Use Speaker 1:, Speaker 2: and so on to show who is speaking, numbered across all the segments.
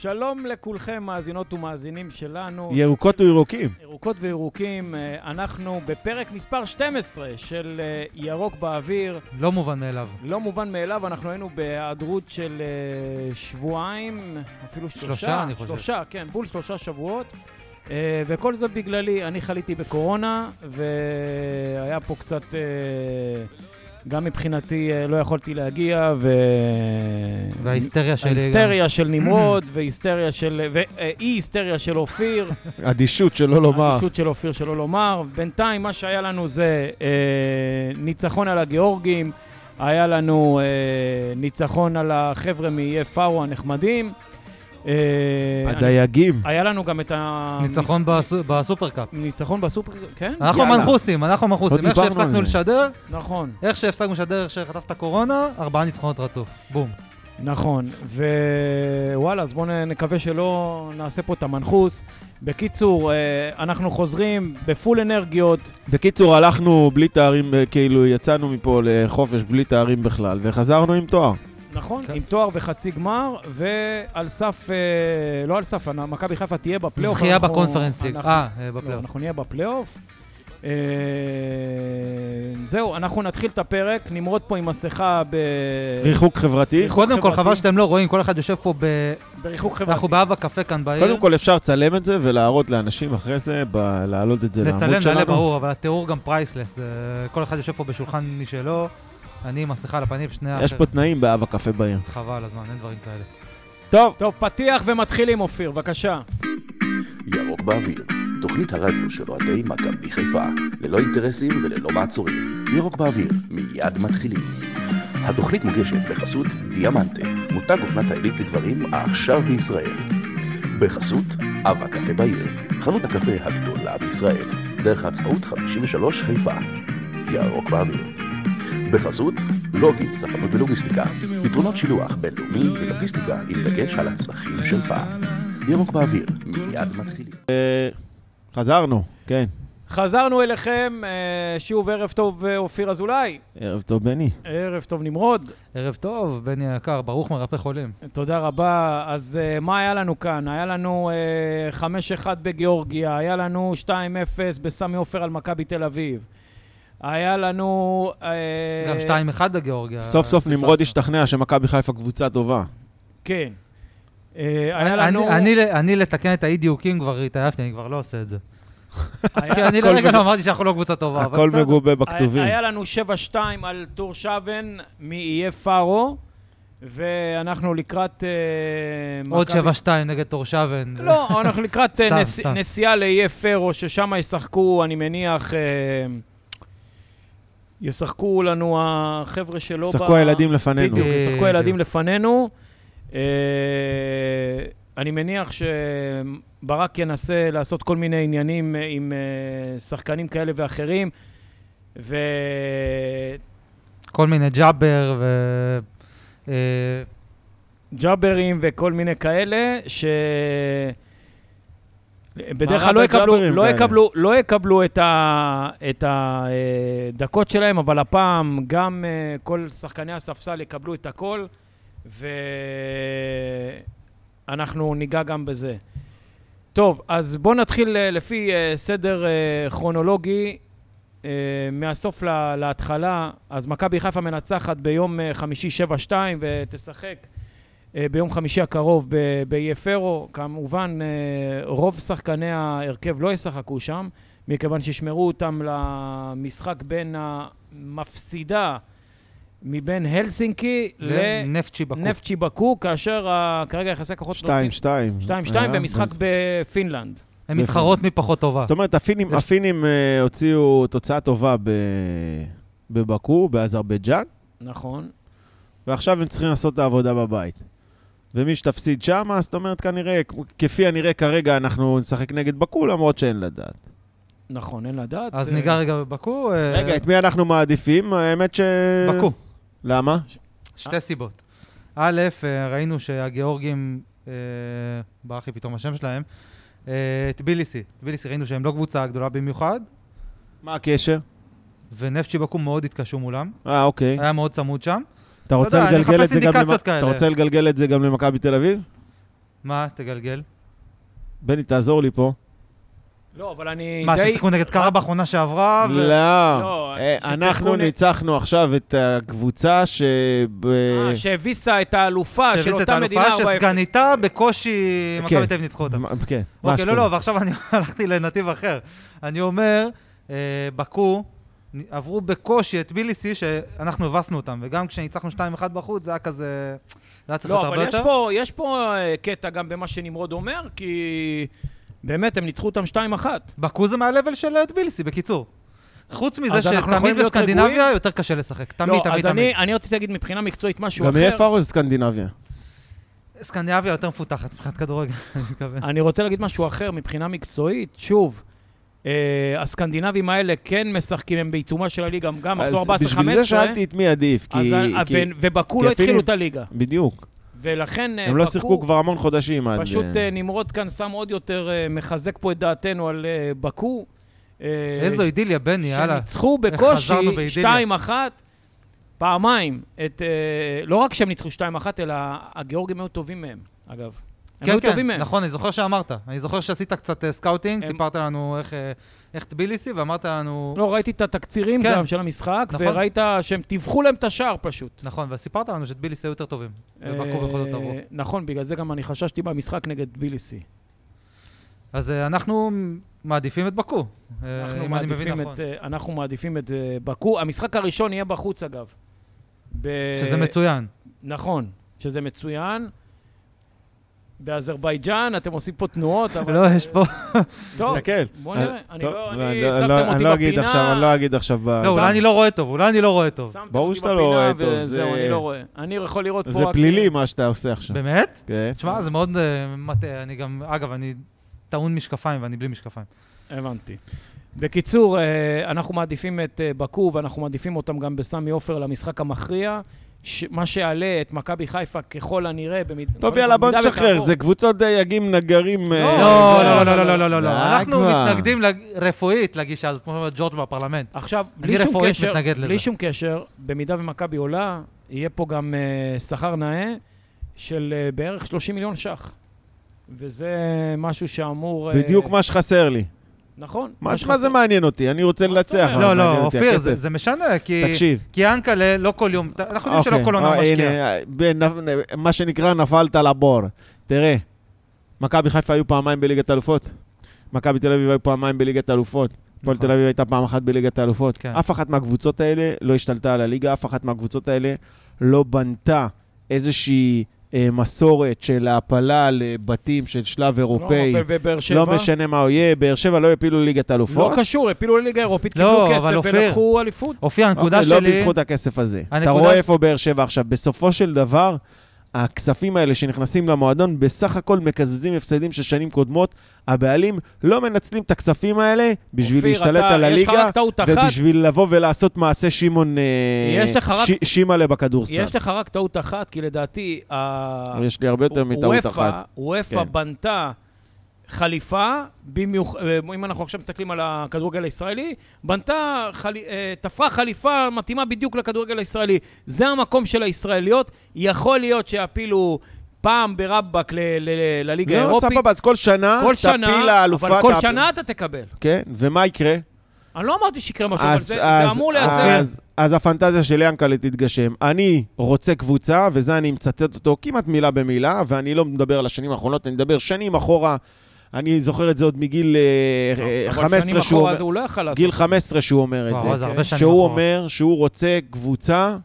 Speaker 1: שלום לכולכם, מאזינות ומאזינים שלנו.
Speaker 2: ירוקות וירוקים.
Speaker 1: ירוקות וירוקים, אה, אנחנו בפרק מספר 12 של אה, ירוק באוויר.
Speaker 3: לא מובן מאליו.
Speaker 1: לא מובן מאליו, אנחנו היינו בהיעדרות של אה, שבועיים, אפילו שלושה.
Speaker 3: שלושה, אני חושב.
Speaker 1: שלושה, כן, בול שלושה שבועות. אה, וכל זה בגללי, אני חליתי בקורונה, והיה פה קצת... אה, גם מבחינתי אה, לא יכולתי להגיע, ו...
Speaker 3: וההיסטריה שלי... גם.
Speaker 1: ההיסטריה של נמרוד, והיסטריה של... ואי-היסטריה של אופיר.
Speaker 2: אדישות שלא לומר.
Speaker 1: הרשות של אופיר שלא לומר. בינתיים מה שהיה לנו זה אה, ניצחון על הגיאורגים, היה לנו אה, ניצחון על החבר'ה מאיי פארו הנחמדים. אה, אני-
Speaker 2: הדייגים.
Speaker 1: היה לנו גם את ה...
Speaker 3: ניצחון אה? בסו- בסופרקאפ.
Speaker 1: ניצחון בסופר... כן,
Speaker 3: אנחנו
Speaker 2: יאללה.
Speaker 3: מנחוסים, אנחנו מנחוסים.
Speaker 2: לא
Speaker 3: איך
Speaker 2: דיברנו
Speaker 3: שהפסקנו
Speaker 2: על זה.
Speaker 3: לשדר,
Speaker 1: נכון.
Speaker 3: איך שהפסקנו לשדר, איך שחטפת קורונה, ארבעה ניצחונות רצוף. בום.
Speaker 1: נכון, ווואלה, אז בואו נקווה שלא נעשה פה את המנחוס. בקיצור, אה, אנחנו חוזרים בפול אנרגיות.
Speaker 2: בקיצור, הלכנו בלי תארים, אה, כאילו יצאנו מפה לחופש בלי תארים בכלל, וחזרנו עם תואר.
Speaker 1: נכון,
Speaker 3: כן.
Speaker 1: עם תואר וחצי גמר, ועל סף, אה, לא על סף, אנ- מכבי חיפה תהיה בפלייאוף.
Speaker 3: זכייה
Speaker 1: אנחנו-
Speaker 3: בקונפרנס ליג.
Speaker 1: אנחנו-
Speaker 3: אה, אה,
Speaker 1: לא,
Speaker 3: בפלייאוף.
Speaker 1: אנחנו נהיה בפלייאוף. אה, זהו, אנחנו נתחיל את הפרק, נמרוד פה עם מסכה ב-
Speaker 2: ריחוק חברתי. אוקיי.
Speaker 1: ריחוק
Speaker 3: קודם כל,
Speaker 1: חברתי.
Speaker 3: חבל שאתם לא רואים, כל אחד יושב פה ב...
Speaker 1: בריחוק חברתי.
Speaker 3: אנחנו באב הקפה כאן בעיר.
Speaker 2: קודם כל אפשר לצלם את זה ולהראות לאנשים אחרי זה, ב- להעלות את זה לעמוד שלנו.
Speaker 3: לצלם, נעלה ברור, אבל התיאור גם פרייסלס. זה- כל אחד יושב פה בשולחן משלו, אני עם מסכה על הפנים, שני
Speaker 2: יש פה תנאים באב הקפה בעיר.
Speaker 3: חבל הזמן, אין דברים כאלה.
Speaker 2: טוב,
Speaker 1: טוב, פתיח ומתחילים, אופיר, בבקשה.
Speaker 4: ירוק באוויר, תוכנית הרדיו של אוהדי מכבי חיפה, ללא אינטרסים וללא מעצורים. ירוק באוויר, מיד מתחילים. התוכנית מוגשת בחסות דיאמנטה, מותג אופנת העילית לגברים העכשיו בישראל. בחסות אב הקפה בעיר, חנות הקפה הגדולה בישראל, דרך העצמאות 53 חיפה. ירוק באוויר. בחסות לוגי, ספנות ולוגיסטיקה, פתרונות שילוח בינלאומי ולוגיסטיקה עם דגש על הצרכים שלך. ירוק באוויר, מיד מתחילים.
Speaker 2: אה, חזרנו, כן.
Speaker 1: חזרנו אליכם, אה, שוב ערב טוב, אה, אופיר אזולאי.
Speaker 2: ערב טוב, בני.
Speaker 1: ערב טוב, נמרוד.
Speaker 3: ערב טוב, בני היקר, ברוך מרפא חולים.
Speaker 1: תודה רבה. אז uh, מה היה לנו כאן? היה לנו uh, 5-1 בגיאורגיה, היה לנו 2-0 בסמי עופר על מכבי תל אביב. היה לנו... Uh,
Speaker 3: גם 2-1 בגיאורגיה.
Speaker 2: אה,
Speaker 3: אה,
Speaker 2: סוף סוף נמרוד
Speaker 3: פספסנו.
Speaker 2: השתכנע שמכבי חיפה קבוצה טובה.
Speaker 1: כן. Uh, היה
Speaker 3: אני-
Speaker 1: לנו...
Speaker 3: אני- אני לתקן את האי-דיוקים כבר התעייפתי, אני כבר לא עושה את זה. כי
Speaker 1: היה-
Speaker 3: אני
Speaker 2: הכל
Speaker 3: לרגע
Speaker 2: מגוב-
Speaker 3: לא אמרתי שאנחנו לא קבוצה טובה, אבל
Speaker 2: הכל
Speaker 3: בסדר.
Speaker 2: מגובה בכתובים.
Speaker 1: היה לנו 7-2 על טור שבן מאיי פארו, ואנחנו לקראת... Uh,
Speaker 3: עוד 7-2 נגד תורשבן.
Speaker 1: לא, אנחנו לקראת אה,
Speaker 3: סתם,
Speaker 1: נס-
Speaker 3: סתם.
Speaker 1: נסיעה לאיי פרו, ששם ישחקו, אני מניח, אה, ישחקו לנו החבר'ה שלו.
Speaker 2: שחקו
Speaker 1: ב-
Speaker 2: הילדים לפנינו.
Speaker 1: לא בדיוק, ישחקו
Speaker 3: בדיוק.
Speaker 1: הילדים לפנינו. אה, אני מניח שברק ינסה לעשות כל מיני עניינים אה, עם אה, שחקנים כאלה ואחרים, ו...
Speaker 3: כל מיני ג'אבר ו... אה,
Speaker 1: ג'אברים וכל מיני כאלה, ש... בדרך
Speaker 2: מה רע
Speaker 1: כלל לא יקבלו,
Speaker 2: בג'אברים
Speaker 1: לא,
Speaker 2: כאלה?
Speaker 1: יקבלו, לא יקבלו את הדקות שלהם, אבל הפעם גם אה, כל שחקני הספסל יקבלו את הכל, ואנחנו ניגע גם בזה. טוב, אז בואו נתחיל אה, לפי אה, סדר אה, כרונולוגי, אה, מהסוף לה, להתחלה. אז מכבי חיפה מנצחת ביום אה, חמישי 7-2 ותשחק אה, ביום חמישי הקרוב ב- ביפרו. כמובן, אה, רוב שחקני ההרכב לא ישחקו שם, מכיוון שישמרו אותם למשחק בין המפסידה מבין הלסינקי לנפצ'י
Speaker 3: לנפצ'י בקו.
Speaker 1: בקו, כאשר ה- כרגע יחסי הכוחות לא
Speaker 2: שתיים, שתיים.
Speaker 1: 2-2
Speaker 2: היה?
Speaker 3: אה,
Speaker 1: במשחק בפינלנד.
Speaker 3: הן מתחרות מפחות טובה.
Speaker 2: זאת אומרת, הפינים,
Speaker 3: יש-
Speaker 2: הפינים אה, הוציאו תוצאה טובה ב... בבקו, באזרבייג'אן,
Speaker 1: נכון.
Speaker 2: ועכשיו הם צריכים לעשות את העבודה בבית. ומי שתפסיד שם, אז זאת אומרת, כנראה, כפי הנראה כרגע, אנחנו נשחק נגד בקו, למרות שאין לדעת.
Speaker 1: נכון, אין לדעת.
Speaker 3: אז
Speaker 1: אה,
Speaker 3: ניגע רגע בבקו. אה,
Speaker 2: רגע, את מי אנחנו מעדיפים? האמת ש...
Speaker 3: בקו.
Speaker 2: למה?
Speaker 3: שתי סיבות. א', אה, ראינו שהגיאורגים, אה, ברח לי פתאום השם שלהם, אה, טביליסי. טביליסי, ראינו שהם לא קבוצה גדולה במיוחד,
Speaker 2: מה הקשר?
Speaker 3: ונפצ'י בקו מאוד התקשו מולם.
Speaker 2: אה, אוקיי.
Speaker 3: היה מאוד צמוד שם.
Speaker 2: אתה
Speaker 3: לא
Speaker 2: רוצה
Speaker 3: יודע, אני
Speaker 2: לגלגל
Speaker 3: מחפש
Speaker 2: את זה גם
Speaker 3: אינדיקציות
Speaker 2: למ- אתה
Speaker 3: כאלה.
Speaker 2: רוצה לגלגל את זה גם למכבי תל אביב?
Speaker 3: מה, תגלגל?
Speaker 2: בני, תעזור לי פה.
Speaker 1: לא, אבל אני
Speaker 3: מה,
Speaker 1: די...
Speaker 3: ששיחקו נגד קארה בעונה שעברה? אה, ו-
Speaker 2: לא,
Speaker 1: לא,
Speaker 2: אה,
Speaker 1: ששיחקו
Speaker 2: אנחנו
Speaker 1: נ-
Speaker 2: ניצחנו עכשיו את הקבוצה ש... ב-
Speaker 1: אה, שהביסה את האלופה של
Speaker 3: שהביס את
Speaker 1: אותה מדינה
Speaker 3: האלופה
Speaker 1: 4-0.
Speaker 3: שסגניתה בקושי
Speaker 2: כן.
Speaker 3: מכבי תל אביב ניצחו אותה.
Speaker 2: מה- כן,
Speaker 3: אוקיי,
Speaker 2: משהו
Speaker 3: לא, לא,
Speaker 2: כזה.
Speaker 3: ועכשיו אני הלכתי לנתיב אחר. אני אומר, אה, בקו, נ- עברו בקושי את ביליסי, שאנחנו הבסנו אותם, וגם כשניצחנו 2-1 בחוץ, זה היה כזה... זה היה צריך להיות
Speaker 1: לא,
Speaker 3: הרבה
Speaker 1: אבל יש
Speaker 3: יותר.
Speaker 1: פה, יש פה אה, קטע גם במה שנמרוד אומר, כי באמת, הם ניצחו אותם 2-1.
Speaker 3: בקו זה מהלבל של אה, טביליסי, בקיצור. חוץ מזה
Speaker 1: אז אנחנו יכולים
Speaker 3: שתמיד
Speaker 1: להיות
Speaker 3: בסקנדינביה
Speaker 1: רגועים?
Speaker 3: יותר קשה לשחק.
Speaker 1: לא,
Speaker 3: תמיד, תמיד,
Speaker 1: אז אני,
Speaker 3: תמיד.
Speaker 1: אני רציתי להגיד מבחינה מקצועית משהו
Speaker 2: גם
Speaker 1: אחר. אה,
Speaker 2: היא פארו זה סקנדינביה.
Speaker 3: סקנדינביה יותר מפותחת מבחינת כדורגל, אני מתכוון.
Speaker 1: אני רוצה להגיד משהו אחר מבחינה מקצועית. שוב, אה, הסקנדינבים האלה כן משחקים, הם בעיצומה של הליגה, גם- גם
Speaker 2: אז
Speaker 1: מחזור 14-15.
Speaker 2: בשביל זה שאלתי את מי עדיף, כי...
Speaker 1: אז ה-
Speaker 2: כי-
Speaker 1: ו- ובקו
Speaker 2: כי
Speaker 1: לא
Speaker 2: הפינים-
Speaker 1: התחילו את הליגה,
Speaker 2: בדיוק.
Speaker 1: ולכן אה,
Speaker 2: הם לא
Speaker 1: בקו-
Speaker 2: שיחקו כבר המון חודשים עד...
Speaker 1: פשוט
Speaker 2: אה,
Speaker 1: אה, נמרוד כאן שם עוד יותר, אה, מחזק פה את דעתנו על אה, בקו. אה,
Speaker 3: איזו אידיליה, בני, יאללה.
Speaker 1: שניצחו בקושי
Speaker 3: חזרנו באידיליה.
Speaker 1: 2-1, פעמיים. את, אה, לא רק שהם ניצחו 2-1, אלא הגיאורגים היו טובים מהם, אגב. הם
Speaker 3: כן,
Speaker 1: היו
Speaker 3: כן,
Speaker 1: טובים מהם.
Speaker 3: נכון, אני זוכר שאמרת. אני זוכר שעשית קצת אה, סקאוטינג,
Speaker 1: הם-
Speaker 3: סיפרת לנו איך, אה, איך טביליסי, ואמרת לנו...
Speaker 1: לא, ראיתי את התקצירים
Speaker 3: כן.
Speaker 1: גם של המשחק,
Speaker 3: נכון.
Speaker 1: וראית שהם טיווחו להם את השער פשוט.
Speaker 3: נכון, וסיפרת לנו שטביליסי היו יותר טובים. ובקו
Speaker 1: אה,
Speaker 3: בכל זאת עברו. אה,
Speaker 1: נכון, בגלל זה גם אני חששתי במשחק נגד ביליסי.
Speaker 3: אז אה, אנחנו מעדיפים את בקו. אה,
Speaker 1: אנחנו
Speaker 3: אם אני מבין
Speaker 1: מעדיפים
Speaker 3: נכון.
Speaker 1: את, אה, אנחנו מעדיפים את אה, בקו. המשחק הראשון יהיה בחוץ, אגב. ב-
Speaker 3: שזה מצוין.
Speaker 1: נכון, שזה מצוין. באזרבייג'אן, אתם עושים פה תנועות, אבל...
Speaker 3: לא, יש פה...
Speaker 1: טוב,
Speaker 2: תסתכל.
Speaker 1: בוא נראה.
Speaker 2: אה,
Speaker 1: אני
Speaker 2: טוב,
Speaker 1: לא-
Speaker 2: לא,
Speaker 1: אני-
Speaker 2: לא-
Speaker 1: שמתם
Speaker 2: לא-
Speaker 1: אותי
Speaker 2: אני לא אגיד
Speaker 1: בפינה.
Speaker 2: עכשיו, אני לא אגיד עכשיו ב...
Speaker 3: לא, אולי אני לא רואה טוב, אולי אני לא רואה טוב.
Speaker 1: שמתם
Speaker 2: ברור
Speaker 1: אותי
Speaker 2: שאתה לא רואה
Speaker 1: בפינה,
Speaker 2: טוב,
Speaker 1: וזהו,
Speaker 2: זה-
Speaker 1: אני לא רואה. אני יכול לראות פה אוקיי.
Speaker 2: זה
Speaker 1: רק-
Speaker 2: פלילי מה שאתה עושה עכשיו.
Speaker 3: באמת?
Speaker 2: כן.
Speaker 3: תשמע, זה מאוד אה, מטעה. אני גם, אגב, אני טעון משקפיים ואני בלי משקפיים.
Speaker 1: הבנתי. בקיצור, אה, אנחנו מעדיפים את אה, בקו, ואנחנו מעדיפים אותם גם בסמי עופר למשחק המכריע, ש- מה שיעלה את מכבי חיפה ככל הנראה. במד...
Speaker 2: טוב, יאללה, בוא
Speaker 1: במידה
Speaker 2: נשחרר,
Speaker 1: ותעבור.
Speaker 2: זה קבוצות דייגים נגרים. אה,
Speaker 1: לא,
Speaker 3: לא,
Speaker 2: זה-
Speaker 3: לא, לא, לא, לא, לא,
Speaker 2: די
Speaker 3: לא. אנחנו
Speaker 2: כבר.
Speaker 3: מתנגדים לג- רפואית לגישה הזאת, כמו שאומר ג'ורג' בפרלמנט.
Speaker 1: עכשיו,
Speaker 3: אני
Speaker 1: בלי שום
Speaker 3: רפואית
Speaker 1: קשר,
Speaker 3: מתנגד
Speaker 1: בלי
Speaker 3: לזה.
Speaker 1: שום קשר, במידה ומכבי עולה, יהיה פה גם אה, שכר נאה של אה, בערך 30 מיליון ש"ח. וזה משהו שאמור... אה,
Speaker 2: בדיוק מה שחסר לי.
Speaker 1: נכון.
Speaker 2: מה שלך זה
Speaker 1: שחסר.
Speaker 2: מעניין אותי, אני רוצה
Speaker 1: מה זאת
Speaker 2: לנצח.
Speaker 1: אומרת?
Speaker 2: אבל
Speaker 3: לא, לא,
Speaker 2: מעניין אותי
Speaker 3: אופיר,
Speaker 2: הכסף.
Speaker 3: זה זה משנה, כי...
Speaker 2: תקשיב.
Speaker 3: כי אנקלה לא כל יום, אנחנו יודעים שלא כל עונה הוא
Speaker 2: אה,
Speaker 3: משקיע.
Speaker 2: הנה, אה, בנ- מה שנקרא, נפלת לבור. תראה, מכבי חיפה היו פעמיים בליגת אלופות. מכבי תל אביב היו פעמיים בליגת אלופות. הפועל
Speaker 3: נכון.
Speaker 2: תל אביב הייתה פעם אחת בליגת האלופות.
Speaker 3: כן.
Speaker 2: אף אחת מהקבוצות האלה לא השתלטה על הליגה, אף אחת מהקבוצות האלה לא בנתה איזושהי אה, מסורת של העפלה לבתים של שלב אירופאי.
Speaker 1: לא, אבל בבאר שבע...
Speaker 2: לא משנה מה הוא יהיה, באר שבע לא יפילו ליגת
Speaker 1: לא
Speaker 2: אלופות.
Speaker 1: קשור, הפילו לליגה האירופית,
Speaker 3: לא,
Speaker 1: קיבלו
Speaker 3: אבל
Speaker 1: כסף
Speaker 3: אופיר.
Speaker 1: ולקחו אליפות.
Speaker 3: אופיר, הנקודה
Speaker 2: אוקיי,
Speaker 3: שלי...
Speaker 2: לא בזכות הכסף הזה. אתה
Speaker 3: הנקודה-
Speaker 2: רואה איפה באר שבע עכשיו. בסופו של דבר, הכספים האלה שנכנסים למועדון, בסך הכל מקזזים הפסדים של שנים קודמות. הבעלים לא מנצלים את הכספים האלה בשביל
Speaker 1: אופיר,
Speaker 2: להשתלט
Speaker 1: אתה-
Speaker 2: על
Speaker 1: יש לך
Speaker 2: הליגה,
Speaker 1: רק טעות אחת,
Speaker 2: ובשביל לבוא ולעשות מעשה שמעון אה,
Speaker 1: יש לך רק-
Speaker 2: ש- שימלה בכדורסל.
Speaker 1: יש לך רק טעות אחת, כי לדעתי... ה-
Speaker 2: יש לי הרבה יותר מטעות
Speaker 1: וופא-
Speaker 2: אחת.
Speaker 1: וופא
Speaker 2: כן.
Speaker 1: בנתה חליפה, במיוח... אה, אם אנחנו עכשיו מסתכלים על הכדורגל הישראלי, בנתה, חל... אה, תפרה חליפה מתאימה בדיוק לכדורגל הישראלי. זה המקום של הישראליות. יכול להיות שיפילו פעם ברבאק ל... ל... לליגה
Speaker 2: לא,
Speaker 1: האירופית.
Speaker 2: סבבה, אז כל שנה
Speaker 1: כל
Speaker 2: תפיל
Speaker 1: שנה,
Speaker 2: האלופה.
Speaker 1: אבל כל
Speaker 2: תפיל-
Speaker 1: שנה אתה תקבל.
Speaker 2: כן, ומה יקרה?
Speaker 1: אני לא אמרתי שיקרה משהו, אבל
Speaker 2: אז-
Speaker 1: זה,
Speaker 2: אז-
Speaker 1: זה אמור לייצר...
Speaker 2: אז- אז הפנטזיה של ינקלה תתגשם. אני רוצה קבוצה, וזה אני מצטט אותו כמעט מילה במילה, ואני לא מדבר על השנים האחרונות, אני מדבר שנים אחורה. אני זוכר את זה עוד מגיל אה, אה,
Speaker 1: לא, אבל
Speaker 2: 15
Speaker 1: שנים
Speaker 2: שהוא
Speaker 1: אחורה
Speaker 2: אומר-
Speaker 1: זה הוא לא יכל לעשות.
Speaker 2: גיל 15 שהוא אומר את
Speaker 3: וואו,
Speaker 2: זה. כן.
Speaker 3: אז הרבה שנים
Speaker 2: שהוא
Speaker 3: אחורה.
Speaker 2: אומר שהוא רוצה קבוצה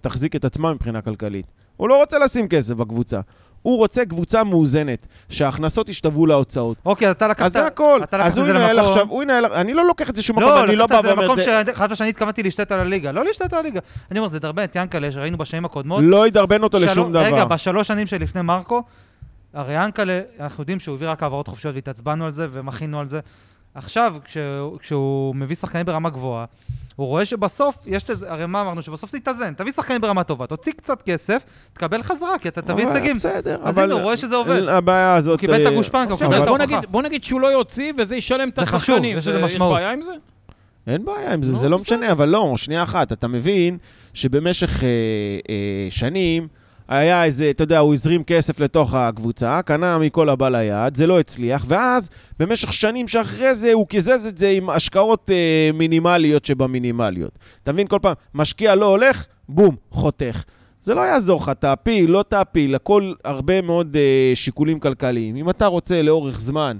Speaker 2: שתחזיק את עצמה מבחינה כלכלית. הוא לא רוצה לשים כסף בקבוצה. הוא רוצה קבוצה מאוזנת, שההכנסות ישתוו להוצאות.
Speaker 3: אוקיי, אתה לקחת...
Speaker 2: אז זה הכל.
Speaker 3: אתה לקחת
Speaker 2: אז
Speaker 3: את
Speaker 2: הוא
Speaker 3: זה
Speaker 2: ינהל
Speaker 3: למקום-
Speaker 2: עכשיו, הוא ינהל... אני לא לוקח את זה שום מקום,
Speaker 3: לא,
Speaker 2: אני לא בא
Speaker 3: לקחת את זה
Speaker 2: ואומר את
Speaker 3: למקום
Speaker 2: זה.
Speaker 3: שחשבת שאני התכוונתי להשתת על הליגה. לא להשתת על הליגה. אני אומר, זה דרבן את ינקלה, שראינו בשנים הקודמות.
Speaker 2: לא ידרבן אותו
Speaker 3: שלוש-
Speaker 2: לשום דבר.
Speaker 3: רגע, בשלוש שנים שלפני מרקו, הרי ינקלה, אנחנו יודעים שהוא הביא רק העברות חופשיות והתעצבנו על זה ומחינו על זה. עכשיו, כשהוא, כשהוא מביא שחקנים ברמה גבוהה, הוא רואה שבסוף, יש לזה, הרי מה אמרנו? שבסוף תתאזן, תביא שחקנים ברמה טובה, תוציא קצת כסף, תקבל חזרה, כי אתה תביא
Speaker 2: אבל
Speaker 3: הישגים.
Speaker 2: בסדר,
Speaker 3: אז הנה, הוא רואה שזה עובד.
Speaker 2: הבעיה הזאת...
Speaker 3: הוא קיבל את
Speaker 2: אה,
Speaker 3: הגושפנקה, הוא
Speaker 1: עכשיו,
Speaker 3: קיבל את
Speaker 1: אז בוא
Speaker 3: ההוכחה.
Speaker 1: נגיד, בוא נגיד שהוא לא יוציא וזה ישלם את
Speaker 3: זה חשוב,
Speaker 1: הצרכנים.
Speaker 3: יש לזה
Speaker 1: זה-
Speaker 3: משמעות.
Speaker 1: יש בעיה עם זה?
Speaker 2: אין בעיה עם זה,
Speaker 1: נו,
Speaker 2: זה לא
Speaker 1: בסדר.
Speaker 2: משנה, אבל לא, שנייה אחת, אתה מבין שבמשך אה, אה, שנים היה איזה, אתה יודע, הוא הזרים כסף לתוך הקבוצה, קנה מכל הבא ליד, זה לא הצליח, ואז במשך שנים שאחרי זה הוא קיזז את זה עם השקעות אה, מינימליות שבמינימליות. אתה מבין? כל פעם, משקיע לא הולך, בום, חותך. זה לא יעזור לך, תעפיל, לא תעפיל, הכל הרבה מאוד אה, שיקולים כלכליים. אם אתה רוצה לאורך זמן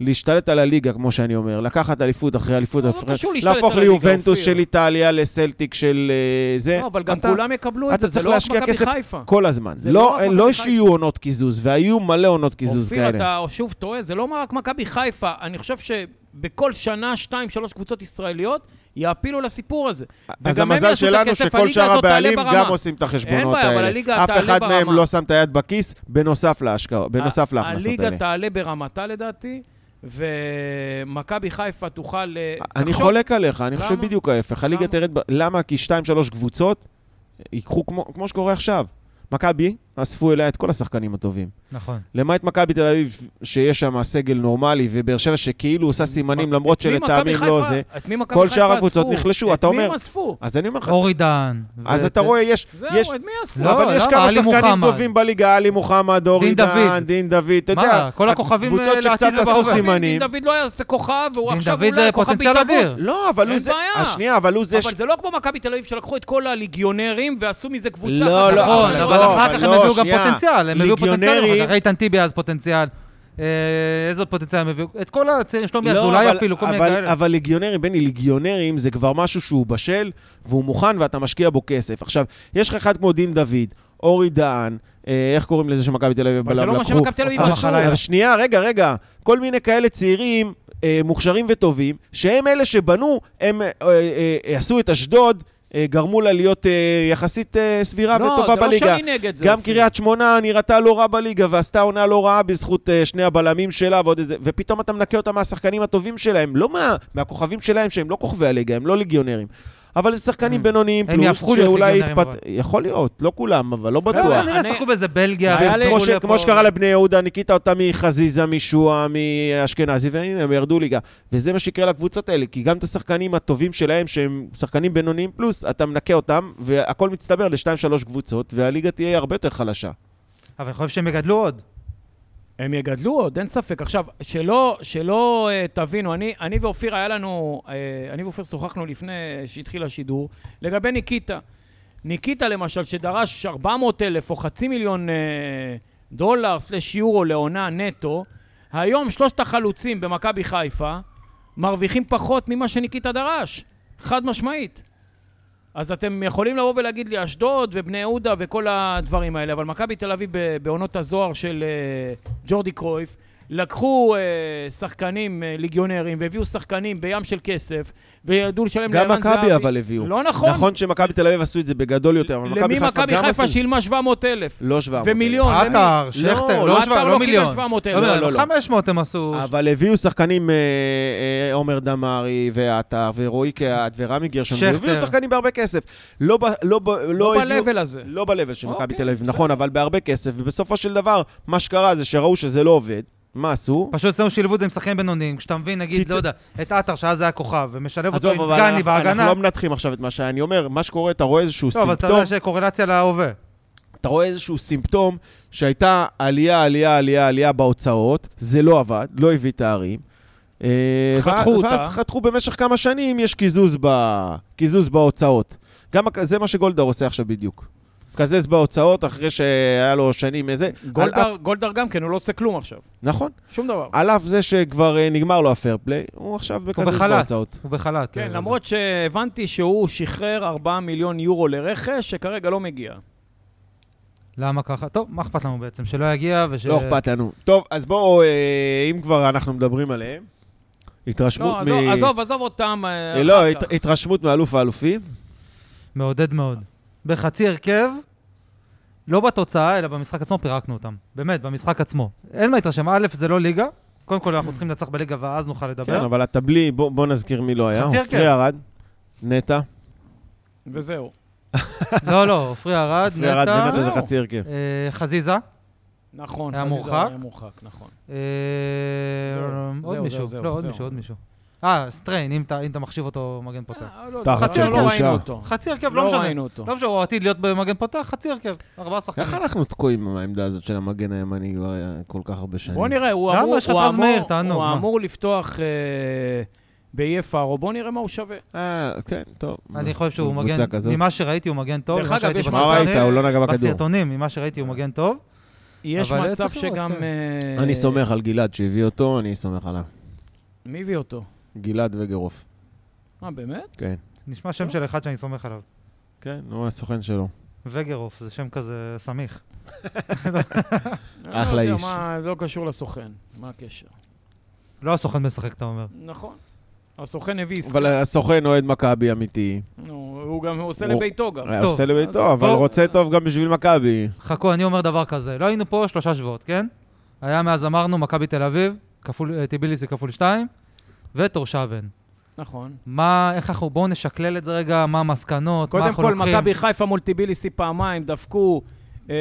Speaker 2: להשתלט על הליגה, כמו שאני אומר, לקחת אליפות אחרי אליפות
Speaker 1: לא
Speaker 2: אחרי...
Speaker 1: קשור להשתלט
Speaker 2: להפוך
Speaker 1: על הליגה,
Speaker 2: ליובנטוס
Speaker 1: אופיר.
Speaker 2: של איטליה, לסלטיק של אה, זה.
Speaker 1: לא, אבל גם
Speaker 2: אתה-
Speaker 1: כולם יקבלו את
Speaker 2: אתה
Speaker 1: זה, זה
Speaker 2: צריך
Speaker 1: לא רק
Speaker 2: להשקיע
Speaker 1: מכבי
Speaker 2: כסף
Speaker 1: חיפה.
Speaker 2: כל הזמן.
Speaker 1: זה לא
Speaker 2: לא
Speaker 1: רק מכבי
Speaker 2: לא
Speaker 1: חיפה.
Speaker 2: שיהיו עונות קיזוז, והיו מלא עונות קיזוז
Speaker 1: אופיר,
Speaker 2: כאלה.
Speaker 1: אתה שוב טועה, זה לא רק מכבי חיפה. אני חושב שבכל שנה, שתיים, שלוש קבוצות ישראליות יעפילו לסיפור הזה.
Speaker 2: אז
Speaker 1: וגם הם
Speaker 2: המזל
Speaker 1: יעשו את
Speaker 2: שלנו
Speaker 1: הכסף,
Speaker 2: שכל
Speaker 1: הליגה
Speaker 2: שאר
Speaker 1: הזאת תעלה
Speaker 2: הבעלים
Speaker 1: ברמה.
Speaker 2: גם עושים את החשבונות
Speaker 1: בעיה, אבל
Speaker 2: האלה.
Speaker 1: הליגה
Speaker 2: אף
Speaker 1: תעלה
Speaker 2: אחד מהם
Speaker 1: ברמה.
Speaker 2: לא שם את היד בכיס, בנוסף להשקעה, בנוסף להכנסות האלה.
Speaker 1: הליגה תעלה ברמתה לדעתי, ומכבי חיפה תוכל... אה,
Speaker 2: אני
Speaker 1: תחשוב-
Speaker 2: חולק עליך, אני
Speaker 1: למה?
Speaker 2: חושב בדיוק ההפך. הליגה
Speaker 1: למה?
Speaker 2: תרד... ב- למה? כי 2-3 קבוצות ייקחו, כמו- כמו שקורה עכשיו. מכבי, אספו אליה את כל השחקנים הטובים.
Speaker 3: נכון.
Speaker 2: למעט מכבי תל אביב, שיש שם סגל נורמלי, ובאר שבע שכאילו עושה סימנים, למרות
Speaker 1: את מי
Speaker 2: שלטעמים
Speaker 1: מכבי
Speaker 2: לא
Speaker 1: חיפה-
Speaker 2: זה.
Speaker 1: את מי מכבי
Speaker 2: כל
Speaker 1: חיפה
Speaker 2: שאר הקבוצות
Speaker 1: אספו?
Speaker 2: נחלשו, אתה
Speaker 1: את מי
Speaker 2: אומר-
Speaker 1: הם אספו?
Speaker 2: אז אני אומר
Speaker 1: לא,
Speaker 2: לך,
Speaker 3: אורי דן.
Speaker 2: אז
Speaker 3: ו-
Speaker 2: אתה רואה, יש... יש-
Speaker 1: זהו, את מי אספו?
Speaker 3: לא,
Speaker 2: אבל יש
Speaker 3: למה?
Speaker 2: כמה
Speaker 3: עלי
Speaker 2: שחקנים
Speaker 3: מוחמד.
Speaker 2: טובים בליגה, עלי מוחמד, אורי
Speaker 3: דין
Speaker 2: דן,
Speaker 3: דוד.
Speaker 2: דין דוד, אתה
Speaker 3: מה,
Speaker 2: יודע.
Speaker 3: כל הכוכבים,
Speaker 2: הקבוצות
Speaker 3: אה,
Speaker 2: שקצת
Speaker 3: לעתיד
Speaker 2: עשו
Speaker 3: לבאות.
Speaker 2: סימנים.
Speaker 1: דין דוד לא היה כוכב, והוא
Speaker 3: דין
Speaker 1: עכשיו
Speaker 3: דוד,
Speaker 1: אולי
Speaker 3: אה,
Speaker 1: כוכב
Speaker 3: פוטנציאל
Speaker 1: בהתערבות.
Speaker 3: אדיר.
Speaker 2: לא, אבל הוא
Speaker 1: אין
Speaker 2: זה...
Speaker 1: בעיה.
Speaker 2: השנייה, אבל הוא זה... ש-
Speaker 1: אבל זה לא כמו מכבי תל אביב שלקחו את כל הליגיונרים ועשו מזה קבוצה.
Speaker 2: לא,
Speaker 1: אחת.
Speaker 2: לא,
Speaker 3: נכון,
Speaker 2: אבל
Speaker 3: אבל
Speaker 2: לא,
Speaker 3: אחר
Speaker 2: אבל
Speaker 3: כך הם
Speaker 2: לא,
Speaker 3: הביאו גם
Speaker 2: שנייה.
Speaker 3: פוטנציאל, הם הביאו פוטנציאל.
Speaker 2: ליגיונרים-
Speaker 3: נכון, הרי איתן טיבי אז פוטנציאל. אה, איזה עוד פוטנציאל הם הביאו? את כל הצעירים, שלומי
Speaker 2: לא,
Speaker 3: אזולאי
Speaker 2: אבל-
Speaker 3: אפילו, כל מיני
Speaker 2: אבל-
Speaker 3: כאלה.
Speaker 2: אבל ליגיונרים, בני, ליגיונרים זה כבר משהו שהוא בשל, והוא מוכן ואתה משקיע בו כסף. עכשיו, יש לך אחד כמו דין דוד, אורי דהן, אה, איך קוראים לזה שמכבי תל אביב
Speaker 1: אבל זה
Speaker 2: בלם
Speaker 1: לא מה
Speaker 2: לקחו?
Speaker 1: שמכבי תל אביב
Speaker 3: אוסאמה
Speaker 1: עשו.
Speaker 3: חלאילה.
Speaker 2: אבל שנייה, רגע, רגע. כל מיני כאלה צעירים, אה, מוכשרים וטובים, שהם אלה שבנו, הם אה, אה, אה, עשו את אשדוד, אה, גרמו לה להיות אה, יחסית אה, סבירה
Speaker 1: לא,
Speaker 2: וטובה
Speaker 1: זה לא
Speaker 2: בליגה.
Speaker 1: שאני נגד זה,
Speaker 2: גם
Speaker 1: אופיר.
Speaker 2: קריית שמונה נראתה לא רע בליגה, ועשתה עונה לא רעה בזכות אה, שני הבלמים שלה ועוד איזה... ופתאום אתה מנקה אותה מהשחקנים הטובים שלהם, לא מה, מהכוכבים שלהם, שהם לא כוכבי הליגה, הם לא ליגיונרים. אבל זה שחקנים
Speaker 3: Mm.
Speaker 2: בינוניים
Speaker 3: הם
Speaker 2: פלוס,
Speaker 3: יהפכו להיות
Speaker 2: שאולי
Speaker 3: ליגיונרים,
Speaker 2: יתפתח...
Speaker 3: אבל.
Speaker 2: יכול להיות, לא כולם, אבל לא
Speaker 3: לא,
Speaker 2: בטוח. כן,
Speaker 3: כנראה
Speaker 1: אני-
Speaker 3: שחקו באיזה בלגיה.
Speaker 1: היה
Speaker 3: והפכו
Speaker 1: לי-
Speaker 2: כמו, ש...
Speaker 3: לפה-
Speaker 2: כמו שקרה לבני יהודה, ניקית אותם מחזיזה, משועה, מאשכנזי, והנה, הם ירדו ליגה. וזה מה שיקרה לקבוצות האלה, כי גם את השחקנים הטובים שלהם, שהם שחקנים בינוניים פלוס, אתה מנקה אותם, והכל מצטבר ל-2-3 קבוצות, והליגה תהיה הרבה יותר חלשה.
Speaker 3: אבל אני חושב שהם יגדלו עוד.
Speaker 1: הם יגדלו עוד, אין ספק. עכשיו, שלא, שלא אה, תבינו, אני, אני ואופיר היה לנו, אה, אני ואופיר שוחחנו לפני שהתחיל השידור, לגבי ניקיטה. ניקיטה למשל, שדרש 400 אלף או חצי מיליון אה, דולר סלש יורו לעונה נטו, היום שלושת החלוצים במכבי חיפה מרוויחים פחות ממה שניקיטה דרש, חד משמעית. אז אתם יכולים לבוא ולהגיד לי אשדוד ובני יהודה וכל הדברים האלה, אבל מכבי תל אביב ב- בעונות הזוהר של אה, ג'ורדי קרויף, לקחו אה, שחקנים, אה, ליגיונרים, והביאו שחקנים בים של כסף, וידעו לשלם
Speaker 2: גם
Speaker 1: לערן
Speaker 2: מכבי
Speaker 1: זהבי.
Speaker 2: אבל הביאו.
Speaker 1: לא נכון.
Speaker 2: נכון שמכבי תל אביב עשו את זה בגדול יותר, אבל מכבי
Speaker 1: למי
Speaker 2: חיפה גם עשו...
Speaker 1: מכבי חיפה שילמה 700 אלף?
Speaker 2: לא 700.
Speaker 1: ומיליון. למי?
Speaker 3: עטר, שכטר,
Speaker 1: לא,
Speaker 3: לא שבע-
Speaker 1: עטר לא
Speaker 3: לא
Speaker 1: קיבל
Speaker 3: מיליון.
Speaker 1: 700,000.
Speaker 3: לא,
Speaker 2: לא, לא, לא.
Speaker 3: 500 הם עשו.
Speaker 2: אבל הביאו שחקנים, אה, אה, עומר דמארי ועטר ורועי קהת ורמי גרשון,
Speaker 3: שכטר.
Speaker 2: הביאו שחקנים בהרבה כסף. לא ב- לא ב-
Speaker 1: לא
Speaker 2: לא הביאו...
Speaker 1: ב-level הזה.
Speaker 2: לא ב-level של מכבי
Speaker 1: אוקיי,
Speaker 2: תל אביב,
Speaker 1: בסדר.
Speaker 2: נכון, אבל בהרבה כסף, ובסופו של דבר, מה שקרה זה שראו שזה לא עובד, מה עשו?
Speaker 3: פשוט אצלנו שילבו את זה עם שחקנים בינוניים, כשאתה מבין, נגיד,
Speaker 2: קיצ-
Speaker 3: לא יודע, את עטר, שאז זה היה כוכב, ומשלב אותו
Speaker 2: עזוב,
Speaker 3: עם
Speaker 2: אבל
Speaker 3: דגני
Speaker 2: אנחנו אנחנו
Speaker 3: בהגנה.
Speaker 2: לא מנתחים עכשיו את מה שאני אומר, מה שקורה, אתה רואה איזשהו
Speaker 3: טוב,
Speaker 2: סימפטום.
Speaker 3: אבל אתה יודע שקורלציה להווה.
Speaker 2: אתה רואה איזשהו סימפטום שהייתה עלייה, עלייה, עלייה, עלייה בהוצאות, זה לא עבד, לא הביא תארים. אה,
Speaker 1: חתכו
Speaker 2: ואז-
Speaker 1: אותה.
Speaker 2: ואז חתכו במשך כמה שנים, יש קיזוז, ב... קיזוז בהוצאות. גם הכ- זה מה שגולדהר עושה עכשיו בדיוק. מקזז בהוצאות אחרי שהיה לו שנים איזה... על
Speaker 1: גולדהר-
Speaker 2: אף-
Speaker 1: גולדהר גם כן, הוא לא עושה כלום עכשיו.
Speaker 2: נכון.
Speaker 1: שום דבר.
Speaker 2: על אף זה שכבר אה, נגמר לו הפייר פליי, הוא עכשיו מקזז
Speaker 3: בחל"ת.
Speaker 2: בהוצאות.
Speaker 3: הוא בחל"ת.
Speaker 1: כן,
Speaker 3: אה,
Speaker 1: למרות שהבנתי שהוא שחרר 4 מיליון יורו לרכש, שכרגע לא מגיע.
Speaker 3: למה ככה? טוב, מה אכפת לנו בעצם? שלא יגיע וש...
Speaker 2: לא אכפת לנו. טוב, אז בואו, אה, אם כבר אנחנו מדברים עליהם, התרשמות
Speaker 1: לא,
Speaker 2: מ...
Speaker 1: עזוב, עזוב, עזוב אותם אה,
Speaker 2: אה, לא,
Speaker 1: אחר
Speaker 2: הת-
Speaker 1: כך.
Speaker 2: התרשמות מאלוף האלופים.
Speaker 3: מעודד מאוד. בחצי הרכב, לא בתוצאה, אלא במשחק עצמו פירקנו אותם. באמת, במשחק עצמו. אין מה להתרשם, א', זה לא ליגה. קודם כל, אנחנו צריכים לנצח בליגה ואז נוכל
Speaker 2: כן,
Speaker 3: לדבר.
Speaker 2: אבל אתה בלי, בוא, בוא נזכיר מי לא היה.
Speaker 3: חצי
Speaker 2: עופרי
Speaker 3: הרכב.
Speaker 2: ארד, נטע.
Speaker 1: וזהו.
Speaker 3: לא, לא, עופרי ארד,
Speaker 2: עופרי ארד
Speaker 3: נטע,
Speaker 2: ונטע זה
Speaker 1: זהו.
Speaker 2: חצי הרכב.
Speaker 3: אה, חזיזה.
Speaker 1: נכון,
Speaker 3: היה
Speaker 1: חזיזה
Speaker 3: מורחק?
Speaker 1: היה מורחק, נכון.
Speaker 3: אה,
Speaker 1: זהו,
Speaker 3: עוד
Speaker 1: זהו,
Speaker 3: מישהו,
Speaker 1: זהו,
Speaker 3: לא, עוד
Speaker 1: זהו.
Speaker 3: מישהו, עוד מישהו. אה, סטריין, אם אתה- אם אתה מחשיב אותו מגן פותח.
Speaker 2: תחת
Speaker 3: של
Speaker 1: לא
Speaker 2: קדושה.
Speaker 1: ראינו אותו.
Speaker 3: חצי הרכב, לא
Speaker 1: לא
Speaker 3: משנה.
Speaker 1: ראינו אותו. לא.
Speaker 3: לא משנה, הוא עתיד להיות במגן פותח, חצי הרכב, ארבעה שחקנים.
Speaker 2: איך אנחנו תקועים עם העמדה הזאת של המגן הימני כבר אה, כל כך הרבה שנים?
Speaker 1: בוא נראה, הוא
Speaker 3: כן. למה?
Speaker 1: אמור-
Speaker 3: יש לך
Speaker 1: הוא
Speaker 3: את רז
Speaker 1: אמור-
Speaker 3: מאיר, תענוג,
Speaker 1: הוא
Speaker 3: מה?
Speaker 1: אמור לפתוח אה, באיי פארו, בוא נראה מה הוא שווה.
Speaker 2: אה, כן, טוב.
Speaker 3: אני חושב שהוא
Speaker 2: קבוצה
Speaker 3: מגן,
Speaker 2: כזאת.
Speaker 3: ממה שראיתי הוא מגן טוב,
Speaker 1: דרך
Speaker 3: ממה
Speaker 1: אגב,
Speaker 3: שראיתי
Speaker 1: יש
Speaker 2: מה
Speaker 1: מצב-
Speaker 2: ראית? הוא לא נגע בכדור.
Speaker 3: בסרטונים, ממה שראיתי הוא מגן טוב.
Speaker 1: יש
Speaker 3: אבל
Speaker 1: מצב
Speaker 3: צריך לראות,
Speaker 1: שגם...
Speaker 3: כן.
Speaker 1: אה,
Speaker 2: אני סומך על גלעד שהביא אותו, אני סומך עליו.
Speaker 1: מי הביא אותו?
Speaker 2: גלעד וגרוף.
Speaker 1: אה, באמת?
Speaker 2: כן.
Speaker 3: נשמע
Speaker 1: לא.
Speaker 3: שם של אחד שאני סומך עליו.
Speaker 2: כן, הוא הסוכן שלו.
Speaker 3: וגרוף, זה שם כזה סמיך.
Speaker 1: אני
Speaker 2: אחלה
Speaker 1: לא יודע
Speaker 2: איש.
Speaker 1: מה, זה לא קשור לסוכן, מה הקשר?
Speaker 3: לא הסוכן משחק, אתה אומר.
Speaker 1: נכון. הסוכן הביא עסקה.
Speaker 2: אבל הסוכן אוהד מכבי אמיתי.
Speaker 1: נו, הוא גם הוא עושה
Speaker 2: הוא-
Speaker 1: לביתו גם.
Speaker 2: היה
Speaker 3: טוב.
Speaker 2: עושה לביתו, אבל
Speaker 3: בוא.
Speaker 2: רוצה טוב גם בשביל מכבי.
Speaker 3: חכו, אני אומר דבר כזה, לא היינו פה שלושה שבועות, כן? היה מאז אמרנו, מכבי תל אביב, כפול, אה, טיביליסי כפול שתיים, וטורשבן.
Speaker 1: נכון.
Speaker 3: מה, איך אנחנו, בואו נשקלל את זה רגע, מה המסקנות, מה
Speaker 1: קודם
Speaker 3: אנחנו
Speaker 1: כל,
Speaker 3: לוקחים.
Speaker 1: מכבי חיפה מול טיביליסי פעמיים, דפקו אה,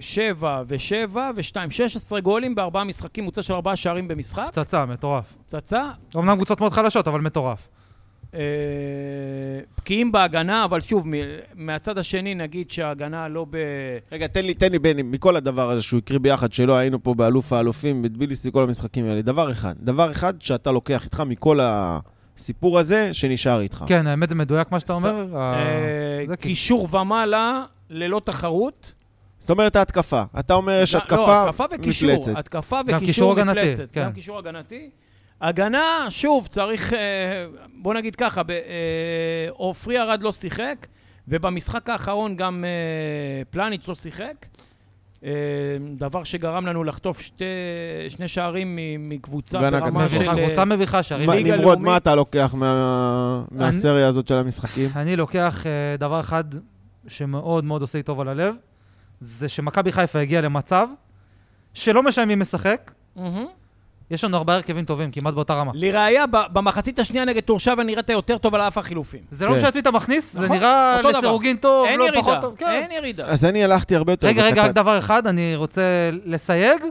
Speaker 1: שבע ושבע ושתיים, 16 גולים בארבעה משחקים, מוצא של ארבעה שערים במשחק,
Speaker 3: פצצה, מטורף.
Speaker 1: פצצה,
Speaker 3: אמנם קבוצות מאוד חלשות, אבל מטורף.
Speaker 1: אה, בקיאים בהגנה, אבל שוב, מ- מהצד השני נגיד שההגנה לא ב...
Speaker 3: אה,
Speaker 2: רגע, תן לי, תן לי, בני, מכל הדבר הזה שהוא הקריא ביחד, שלא היינו פה באלוף האלופים, בטביליסי, כל המשחקים האלה, דבר אחד, דבר אחד שאתה לוקח איתך מכל הסיפור הזה, שנשאר איתך.
Speaker 3: כן, האמת זה מדויק מה שאתה
Speaker 1: ס-
Speaker 3: אומר. ה-
Speaker 1: אה,
Speaker 3: זה כי-
Speaker 1: קישור ומעלה, ללא תחרות.
Speaker 2: זאת אומרת, ההתקפה. אתה אומר, יש התקפה
Speaker 1: לא, התקפה וקישור.
Speaker 2: מפלצת.
Speaker 1: התקפה
Speaker 3: גם
Speaker 1: וקישור
Speaker 3: קישור הגנתי,
Speaker 1: מפלצת.
Speaker 3: כן.
Speaker 1: גם קישור הגנתי. הגנה, שוב, צריך... אה, בוא נגיד ככה, ב- אה, עופרי ארד לא שיחק, ובמשחק האחרון גם אה, פלניץ' לא שיחק. אה, דבר שגרם לנו לחטוף שתי, שני שערים מ- מקבוצה
Speaker 2: גנה
Speaker 1: ברמה
Speaker 2: כתבה.
Speaker 1: של...
Speaker 3: מביכה,
Speaker 1: אה,
Speaker 3: קבוצה מביכה, שערים.
Speaker 2: מה,
Speaker 1: ליגה
Speaker 2: נמרוד,
Speaker 1: לאומית.
Speaker 2: מה אתה לוקח מה- מהסריה הזאת של המשחקים?
Speaker 3: אני לוקח אה, דבר אחד שמאוד מאוד עושה לי טוב על הלב, זה שמכבי חיפה הגיעה למצב שלא משנה מי משחק,
Speaker 1: מהמם.
Speaker 3: יש לנו ארבעה הרכבים טובים, כמעט באותה רמה.
Speaker 1: לראיה, ב- במחצית השנייה נגד טורשבן נראית יותר טוב על אף החילופים.
Speaker 3: זה לא
Speaker 2: כן.
Speaker 3: משנה את מי אתה מכניס, זה
Speaker 1: נכון,
Speaker 3: נראה
Speaker 1: אותו דבר.
Speaker 3: לסירוגין טוב,
Speaker 1: אין
Speaker 3: לא פחות
Speaker 1: ירידה,
Speaker 3: טוב. כן.
Speaker 1: אין ירידה.
Speaker 2: אז אני הלכתי הרבה יותר
Speaker 3: רגע, רגע,
Speaker 2: בקטן.
Speaker 3: רק דבר אחד, אני רוצה לסייג.